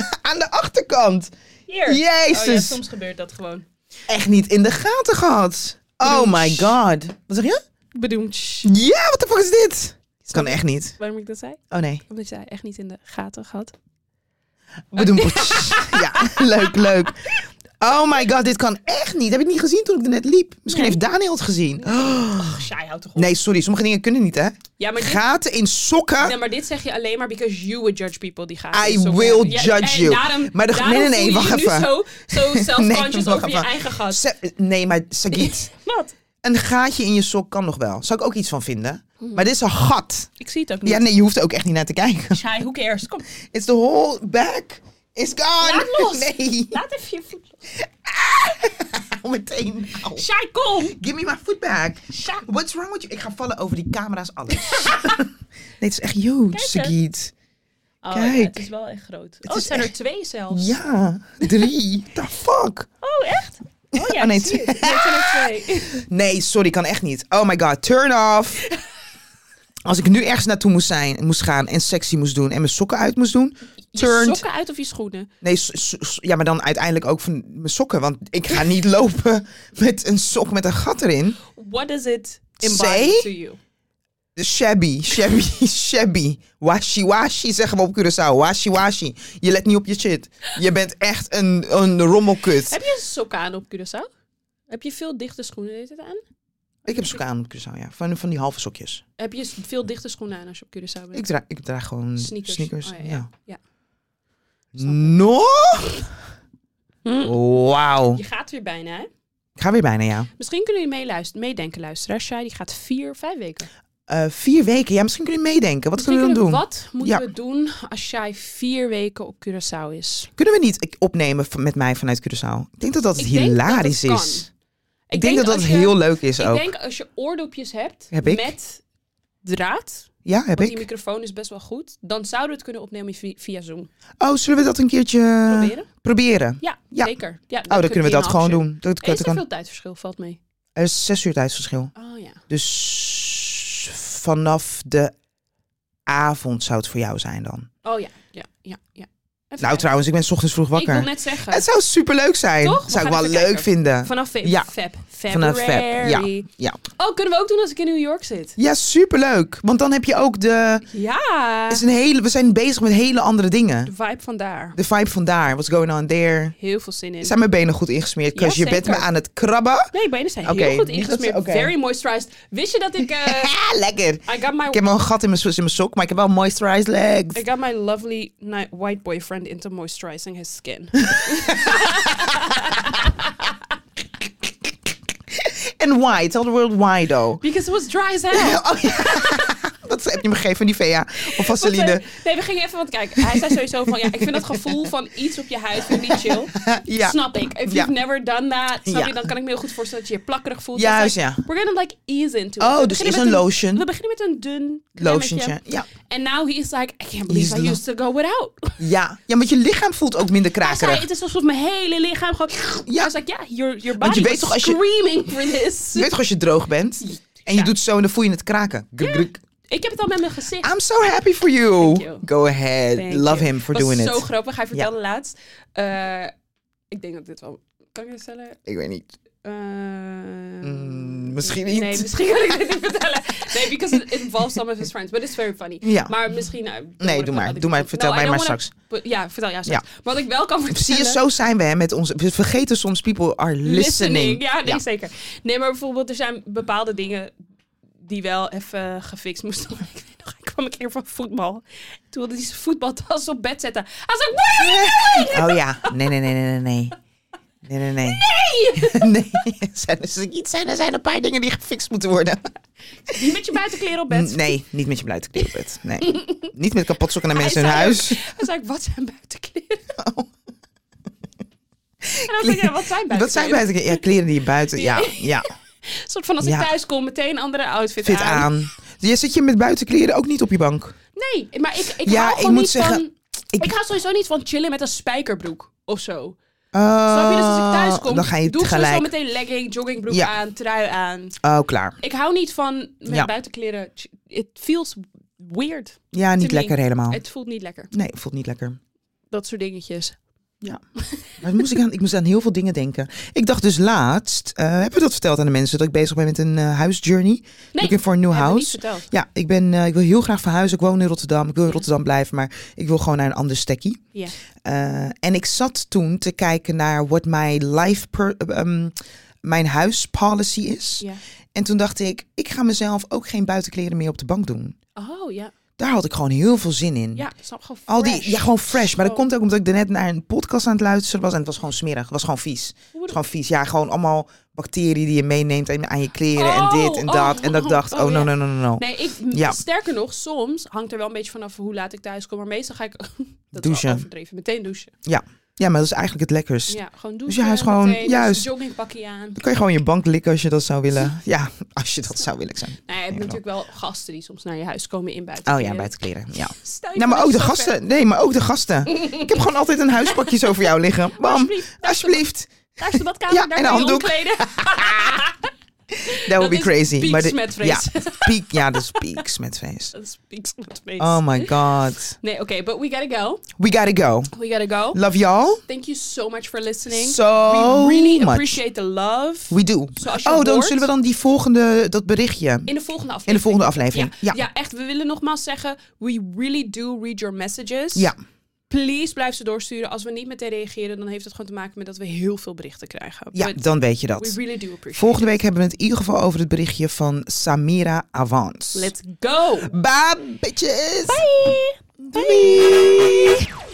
[SPEAKER 2] Aan de achterkant.
[SPEAKER 1] het- Hier.
[SPEAKER 2] Jezus.
[SPEAKER 1] Oh ja, soms gebeurt dat gewoon.
[SPEAKER 2] Echt niet in de gaten gehad. Oh my god. Wat zeg je?
[SPEAKER 1] Bedoemd.
[SPEAKER 2] Ja, wat de fuck is dit? Het kan echt niet.
[SPEAKER 1] Waarom ik dat zei?
[SPEAKER 2] Oh nee.
[SPEAKER 1] Omdat jij echt niet in de gaten had.
[SPEAKER 2] We doen. Ja, leuk, leuk. Oh my god, dit kan echt niet. Heb ik niet gezien toen ik er net liep. Misschien
[SPEAKER 1] Nee.
[SPEAKER 2] heeft Daniel het gezien. Oh.
[SPEAKER 1] Ach, jij houdt toch op.
[SPEAKER 2] Nee, sorry, sommige dingen kunnen niet, hè?
[SPEAKER 1] Ja, maar dit,
[SPEAKER 2] Gaten in sokken.
[SPEAKER 1] nee, maar dit zeg je alleen maar because you would judge people die gaan.
[SPEAKER 2] I
[SPEAKER 1] Dus zo-
[SPEAKER 2] will
[SPEAKER 1] Ja,
[SPEAKER 2] judge
[SPEAKER 1] en
[SPEAKER 2] you.
[SPEAKER 1] Daarom,
[SPEAKER 2] Maar de-
[SPEAKER 1] daarom
[SPEAKER 2] nee, nee, nee,
[SPEAKER 1] voel je
[SPEAKER 2] wacht
[SPEAKER 1] je nu
[SPEAKER 2] even.
[SPEAKER 1] Zo, zo self-conscious
[SPEAKER 2] wacht
[SPEAKER 1] over je
[SPEAKER 2] even.
[SPEAKER 1] eigen gat.
[SPEAKER 2] Se- nee, maar Sagit,
[SPEAKER 1] Wat?
[SPEAKER 2] een gaatje in je sok kan nog wel. Zou ik ook iets van vinden.
[SPEAKER 1] Hmm.
[SPEAKER 2] Maar dit is een gat.
[SPEAKER 1] Ik zie het ook niet.
[SPEAKER 2] Ja, nee, je hoeft er ook echt niet naar te kijken.
[SPEAKER 1] Shai, who cares? Kom,
[SPEAKER 2] It's the whole back is gone.
[SPEAKER 1] Laat los.
[SPEAKER 2] Nee,
[SPEAKER 1] laat even je voet los.
[SPEAKER 2] nou meteen. Au.
[SPEAKER 1] Shai, kom!
[SPEAKER 2] Give me my foot back.
[SPEAKER 1] Shai.
[SPEAKER 2] What's wrong with you? Ik ga vallen over die camera's, alles. nee, het is echt huge,
[SPEAKER 1] Kijk eens.
[SPEAKER 2] Sagit.
[SPEAKER 1] Oh,
[SPEAKER 2] Kijk.
[SPEAKER 1] ja, het is wel echt groot. oh,
[SPEAKER 2] is
[SPEAKER 1] het zijn er
[SPEAKER 2] echt-
[SPEAKER 1] twee zelfs.
[SPEAKER 2] Ja, drie. The fuck?
[SPEAKER 1] Oh, echt? Oh ja,
[SPEAKER 2] Oh, nee,
[SPEAKER 1] ik zie
[SPEAKER 2] twee.
[SPEAKER 1] het. Nee, het zijn er twee.
[SPEAKER 2] Nee, sorry, kan echt niet. Oh my god, turn off. Als ik nu ergens naartoe moest zijn, moest gaan en sexy moest doen en mijn sokken uit moest doen,
[SPEAKER 1] Je
[SPEAKER 2] turned.
[SPEAKER 1] sokken uit of je schoenen?
[SPEAKER 2] Nee, so- so- so- ja, maar dan uiteindelijk ook van mijn sokken, want ik ga niet lopen met een sok met een gat erin.
[SPEAKER 1] What does it
[SPEAKER 2] Say?
[SPEAKER 1] embody to you?
[SPEAKER 2] Shabby, shabby, shabby. Washi washi zeggen we op Curaçao. Washi washi. Je let niet op je shit. Je bent echt een, een rommelkut.
[SPEAKER 1] Heb je sokken aan op Curaçao? Heb je veel dichte schoenen deed het aan?
[SPEAKER 2] Ik heb sokken aan op Curaçao, ja. Van, van die halve sokjes.
[SPEAKER 1] Heb je veel dichte schoenen aan als je op Curaçao bent?
[SPEAKER 2] Ik draag, ik draag gewoon
[SPEAKER 1] Sneakers.
[SPEAKER 2] sneakers.
[SPEAKER 1] Oh, ja,
[SPEAKER 2] ja.
[SPEAKER 1] ja. Ja.
[SPEAKER 2] No?
[SPEAKER 1] Hm?
[SPEAKER 2] Wauw.
[SPEAKER 1] Je gaat weer bijna, hè?
[SPEAKER 2] Ik ga weer bijna, ja.
[SPEAKER 1] Misschien kunnen jullie meeluisteren, meedenken, luisteraars. Shai, die gaat vier, vijf weken.
[SPEAKER 2] Eh, vier weken. Ja, misschien kun je meedenken. Wat
[SPEAKER 1] Misschien
[SPEAKER 2] kunnen we dan doen?
[SPEAKER 1] kunnen Wat moeten
[SPEAKER 2] Ja.
[SPEAKER 1] we doen als Shai vier weken op Curaçao is?
[SPEAKER 2] Kunnen we niet ik- opnemen van- met mij vanuit Curaçao? Ik denk dat dat
[SPEAKER 1] Ik denk
[SPEAKER 2] hilarisch
[SPEAKER 1] dat het
[SPEAKER 2] is.
[SPEAKER 1] kan.
[SPEAKER 2] Ik, denk, dat dat
[SPEAKER 1] als je-
[SPEAKER 2] heel leuk is
[SPEAKER 1] Ik
[SPEAKER 2] ook.
[SPEAKER 1] denk als je oordopjes hebt
[SPEAKER 2] Heb ik?
[SPEAKER 1] met draad,
[SPEAKER 2] ja, heb
[SPEAKER 1] want
[SPEAKER 2] ik.
[SPEAKER 1] die microfoon is best wel goed, dan zouden we het kunnen opnemen vi- via Zoom.
[SPEAKER 2] Oh, zullen we dat een keertje
[SPEAKER 1] Proberen?
[SPEAKER 2] proberen?
[SPEAKER 1] Ja,
[SPEAKER 2] ja.
[SPEAKER 1] zeker. Ja,
[SPEAKER 2] Oh, dan kunnen we dat gewoon doen. Dat,
[SPEAKER 1] Er
[SPEAKER 2] dat
[SPEAKER 1] is er
[SPEAKER 2] kan.
[SPEAKER 1] veel tijdverschil, valt mee.
[SPEAKER 2] Er is zes uur tijdsverschil.
[SPEAKER 1] Oh ja.
[SPEAKER 2] Dus vanaf de avond zou het voor jou zijn dan.
[SPEAKER 1] Oh ja, ja, ja. ja. Even
[SPEAKER 2] Nou,
[SPEAKER 1] kijken.
[SPEAKER 2] trouwens, ik ben 's ochtends vroeg
[SPEAKER 1] Ik wil
[SPEAKER 2] wakker.
[SPEAKER 1] net zeggen,
[SPEAKER 2] Het zou superleuk zijn.
[SPEAKER 1] Toch? We
[SPEAKER 2] Zou ik
[SPEAKER 1] gaan
[SPEAKER 2] wel
[SPEAKER 1] even
[SPEAKER 2] leuk
[SPEAKER 1] kijken.
[SPEAKER 2] vinden.
[SPEAKER 1] vanaf fe-
[SPEAKER 2] Ja.
[SPEAKER 1] Feb.
[SPEAKER 2] Vanaf Feb, ja.
[SPEAKER 1] February.
[SPEAKER 2] Ja.
[SPEAKER 1] Oh, kunnen we ook doen als ik in New York zit?
[SPEAKER 2] Ja, superleuk. Want dan heb je ook de.
[SPEAKER 1] Ja.
[SPEAKER 2] Het is een hele, we zijn bezig met hele andere dingen.
[SPEAKER 1] De vibe van daar.
[SPEAKER 2] De vibe van daar. What's going on there?
[SPEAKER 1] Heel veel zin in.
[SPEAKER 2] Zijn mijn benen goed ingesmeerd? Because
[SPEAKER 1] Ja,
[SPEAKER 2] je bent me
[SPEAKER 1] zeker.
[SPEAKER 2] aan het krabben.
[SPEAKER 1] Nee, benen zijn
[SPEAKER 2] Oké,
[SPEAKER 1] heel goed
[SPEAKER 2] niet dat ze-
[SPEAKER 1] ingesmeerd.
[SPEAKER 2] oké.
[SPEAKER 1] Very moisturized. Wist je dat ik... eh,
[SPEAKER 2] Ah, lekker.
[SPEAKER 1] I got my
[SPEAKER 2] Ik heb wel een gat in mijn, so- in mijn sok, maar ik heb wel moisturized legs.
[SPEAKER 1] I got my lovely ni- white boyfriend into moisturizing his skin.
[SPEAKER 2] En why? Tell the world why though.
[SPEAKER 1] Because it was dry as hell.
[SPEAKER 2] Oh, ja. Dat heb je me gegeven van Nivea of
[SPEAKER 1] Want, eh,
[SPEAKER 2] Vaseline.
[SPEAKER 1] nee, we gingen even wat kijken. Hij zei sowieso van, ja, ik vind dat gevoel van iets op je huid vind ik niet chill.
[SPEAKER 2] Ja.
[SPEAKER 1] Snap ik. If
[SPEAKER 2] Ja.
[SPEAKER 1] you've never done that, snap
[SPEAKER 2] Ja.
[SPEAKER 1] je, dan kan ik me heel goed voorstellen dat je je plakkerig voelt.
[SPEAKER 2] Juist,
[SPEAKER 1] Dus, like,
[SPEAKER 2] ja.
[SPEAKER 1] We're gonna like ease into it.
[SPEAKER 2] Oh,
[SPEAKER 1] We
[SPEAKER 2] dus
[SPEAKER 1] beginnen
[SPEAKER 2] eerst
[SPEAKER 1] met
[SPEAKER 2] een lotion.
[SPEAKER 1] We beginnen met een dun
[SPEAKER 2] Lotiontje. Ja.
[SPEAKER 1] En now he is like, I can't believe
[SPEAKER 2] He's
[SPEAKER 1] I
[SPEAKER 2] lo-
[SPEAKER 1] used to go without.
[SPEAKER 2] ja. Ja, want je lichaam voelt ook minder
[SPEAKER 1] Hij zei,
[SPEAKER 2] krakerig.
[SPEAKER 1] het is alsof mijn hele lichaam gewoon...
[SPEAKER 2] Ja.
[SPEAKER 1] I was like, yeah, your, your
[SPEAKER 2] Want
[SPEAKER 1] body
[SPEAKER 2] je weet
[SPEAKER 1] was
[SPEAKER 2] toch als je-
[SPEAKER 1] screaming for this.
[SPEAKER 2] Je weet toch als je droog bent? En je
[SPEAKER 1] Ja.
[SPEAKER 2] doet zo en dan voel je het kraken. Gruk, gruk.
[SPEAKER 1] Ik heb het al met mijn gezicht.
[SPEAKER 2] I'm so happy for you.
[SPEAKER 1] you.
[SPEAKER 2] Go ahead.
[SPEAKER 1] Thank
[SPEAKER 2] Love
[SPEAKER 1] you.
[SPEAKER 2] him for
[SPEAKER 1] was
[SPEAKER 2] doing
[SPEAKER 1] zo
[SPEAKER 2] it.
[SPEAKER 1] grappig. Hij vertelde laatst. eh, ik denk dat dit wel. Kan ik dit vertellen?
[SPEAKER 2] Ik weet niet.
[SPEAKER 1] Eh,
[SPEAKER 2] Mm, misschien niet.
[SPEAKER 1] Nee, misschien kan ik dit niet vertellen. Nee, because it involves some of his friends. But it's very funny.
[SPEAKER 2] Ja.
[SPEAKER 1] Maar misschien... eh, dan
[SPEAKER 2] Nee,
[SPEAKER 1] word ik
[SPEAKER 2] doe
[SPEAKER 1] wel
[SPEAKER 2] maar.
[SPEAKER 1] al die
[SPEAKER 2] Doe maar.
[SPEAKER 1] kant op.
[SPEAKER 2] Vertel mij
[SPEAKER 1] I don't
[SPEAKER 2] maar
[SPEAKER 1] wanna-
[SPEAKER 2] straks.
[SPEAKER 1] but- Ja, vertel ja straks. Wat ik wel kan vertellen...
[SPEAKER 2] Zie je, zo zijn we hè, met ons. We vergeten soms people are listening.
[SPEAKER 1] Ja, nee,
[SPEAKER 2] Ja.
[SPEAKER 1] zeker. Nee, maar bijvoorbeeld er zijn bepaalde dingen die wel even gefixt moesten worden. Ik weet nog, ik kwam een keer van voetbal. Toen wilde hij zijn voetbaltas op bed zetten. Hij zei, what are you doing?
[SPEAKER 2] Oh ja. Nee, nee, nee, nee, nee, nee. Nee, nee, nee. Nee. Zijn er, zijn, er zijn een paar dingen die gefixt moeten worden.
[SPEAKER 1] Niet met je buitenkleren op bed.
[SPEAKER 2] Nee, niet met je buitenkleed op bed. Nee. niet met kapot sokken naar
[SPEAKER 1] Hij
[SPEAKER 2] mensen in hun
[SPEAKER 1] zei
[SPEAKER 2] huis. Oh.
[SPEAKER 1] ook- Hij zei ook, wat zijn buitenkleren? En dan zei ik, ja, wat zijn buitenkleren?
[SPEAKER 2] Wat zijn buiten? Ja, kleren die je buiten. Ja, ja.
[SPEAKER 1] Een soort van als ik
[SPEAKER 2] Ja.
[SPEAKER 1] thuis kom, meteen een andere outfit
[SPEAKER 2] Fit
[SPEAKER 1] aan.
[SPEAKER 2] aan. Je zit je met buitenkleren ook niet op je bank.
[SPEAKER 1] Nee, maar ik, ik
[SPEAKER 2] Ja,
[SPEAKER 1] hou
[SPEAKER 2] ik
[SPEAKER 1] gewoon
[SPEAKER 2] moet
[SPEAKER 1] niet van...
[SPEAKER 2] zeggen,
[SPEAKER 1] Ik,
[SPEAKER 2] ik-
[SPEAKER 1] hou sowieso niet van chillen met een spijkerbroek of zo.
[SPEAKER 2] Oh,
[SPEAKER 1] Snap je? Dus als ik thuis kom,
[SPEAKER 2] dan ga je
[SPEAKER 1] doe ik
[SPEAKER 2] gelijk.
[SPEAKER 1] sowieso meteen legging, joggingbroek
[SPEAKER 2] Ja.
[SPEAKER 1] aan, trui aan.
[SPEAKER 2] Oh, klaar.
[SPEAKER 1] Ik hou niet van met
[SPEAKER 2] Ja.
[SPEAKER 1] buitenkleren. ch- It feels weird.
[SPEAKER 2] Ja, niet
[SPEAKER 1] me.
[SPEAKER 2] lekker helemaal.
[SPEAKER 1] Het voelt niet lekker.
[SPEAKER 2] Nee, voelt niet lekker.
[SPEAKER 1] Dat soort dingetjes.
[SPEAKER 2] Waar moest ik, aan, ik moest aan heel veel dingen denken. Ik dacht dus laatst, eh hebben we dat verteld aan de mensen, dat ik bezig ben met een eh, huisjourney.
[SPEAKER 1] Nee,
[SPEAKER 2] Looking for a new
[SPEAKER 1] hebben we niet
[SPEAKER 2] house.
[SPEAKER 1] verteld.
[SPEAKER 2] Ja, ik, ben, eh, ik wil heel graag verhuizen. Ik woon in Rotterdam. Ik wil in Rotterdam blijven, maar ik wil gewoon naar een ander stekkie.
[SPEAKER 1] Ja.
[SPEAKER 2] Eh, en ik zat toen te kijken naar wat mijn life, per- ehm, mijn huispolicy is.
[SPEAKER 1] Ja.
[SPEAKER 2] En toen dacht ik, ik ga mezelf ook geen buitenkleren meer op de bank doen.
[SPEAKER 1] Oh ja.
[SPEAKER 2] Daar had ik gewoon heel veel zin in.
[SPEAKER 1] Ja, snap gewoon
[SPEAKER 2] Al die,
[SPEAKER 1] fresh.
[SPEAKER 2] ja, gewoon fresh. Maar
[SPEAKER 1] Gewoon-
[SPEAKER 2] dat komt ook omdat ik daarnet naar een podcast aan het luisteren was. En het was gewoon smerig. Het was gewoon vies. Het
[SPEAKER 1] Hoe
[SPEAKER 2] was
[SPEAKER 1] bedoel-
[SPEAKER 2] gewoon vies. Ja, gewoon allemaal bacteriën die je meeneemt en aan je kleren. en
[SPEAKER 1] Oh,
[SPEAKER 2] dit en dat.
[SPEAKER 1] oh,
[SPEAKER 2] en dat ik dacht,
[SPEAKER 1] oh,
[SPEAKER 2] oh,
[SPEAKER 1] ja.
[SPEAKER 2] no, no, no, no, no.
[SPEAKER 1] Nee, ik,
[SPEAKER 2] Ja.
[SPEAKER 1] sterker nog, soms hangt er wel een beetje vanaf hoe laat ik thuis kom. Maar meestal ga ik... dat is
[SPEAKER 2] Douchen.
[SPEAKER 1] wel overdreven. Meteen douchen.
[SPEAKER 2] Ja, maar dat is eigenlijk het lekkerst.
[SPEAKER 1] Ja, gewoon douchen.
[SPEAKER 2] Dus je huis gewoon-
[SPEAKER 1] meteen, dus
[SPEAKER 2] juist.
[SPEAKER 1] een joggingpakje aan.
[SPEAKER 2] Dan kan je gewoon je bank likken als je dat zou willen. Ja, als je dat zou willen zijn.
[SPEAKER 1] Nou, je hebt
[SPEAKER 2] Ja,
[SPEAKER 1] natuurlijk wel gasten die soms naar je huis komen in buiten.
[SPEAKER 2] Oh ja, buitenkleren. Ja.
[SPEAKER 1] Stel je
[SPEAKER 2] Nou, maar
[SPEAKER 1] voor
[SPEAKER 2] ook de
[SPEAKER 1] dat je zo ver-
[SPEAKER 2] gasten. Nee, maar ook de gasten. Ik heb gewoon altijd een huispakje zo voor jou liggen. Bam.
[SPEAKER 1] Alsjeblieft, daar is de-
[SPEAKER 2] Alsjeblieft.
[SPEAKER 1] daar is de badkamer,
[SPEAKER 2] Ja,
[SPEAKER 1] daar
[SPEAKER 2] en
[SPEAKER 1] kan
[SPEAKER 2] een
[SPEAKER 1] je
[SPEAKER 2] handdoek.
[SPEAKER 1] omkleden.
[SPEAKER 2] That would
[SPEAKER 1] Dat
[SPEAKER 2] be
[SPEAKER 1] is
[SPEAKER 2] crazy.
[SPEAKER 1] piek
[SPEAKER 2] Maar de-
[SPEAKER 1] smetvrees.
[SPEAKER 2] ja, piek, ja, dat is piek smetvrees.
[SPEAKER 1] Dat is pieks op het feest.
[SPEAKER 2] Oh my god.
[SPEAKER 1] Nee, oké, but we gotta go.
[SPEAKER 2] We gotta go.
[SPEAKER 1] We gotta go.
[SPEAKER 2] Love y'all
[SPEAKER 1] Thank you so much for listening.
[SPEAKER 2] so
[SPEAKER 1] we really
[SPEAKER 2] much.
[SPEAKER 1] appreciate the love.
[SPEAKER 2] We do.
[SPEAKER 1] Zoals je
[SPEAKER 2] Oh, dan
[SPEAKER 1] hoort.
[SPEAKER 2] zullen we dan die volgende, dat berichtje
[SPEAKER 1] In de volgende aflevering.
[SPEAKER 2] in de volgende aflevering. Ja.
[SPEAKER 1] Ja. echt. We willen nogmaals zeggen, we really do read your messages.
[SPEAKER 2] Ja.
[SPEAKER 1] Please blijf ze doorsturen. Als we niet meteen reageren, dan heeft het gewoon te maken met dat we heel veel berichten krijgen.
[SPEAKER 2] Ja,
[SPEAKER 1] But
[SPEAKER 2] dan weet je
[SPEAKER 1] we
[SPEAKER 2] dat.
[SPEAKER 1] really do appreciate
[SPEAKER 2] Volgende week hebben we het in ieder geval over het berichtje van Samira Avans.
[SPEAKER 1] it. Let's go.
[SPEAKER 2] Bye, bitches.
[SPEAKER 1] Bye.
[SPEAKER 2] Doei.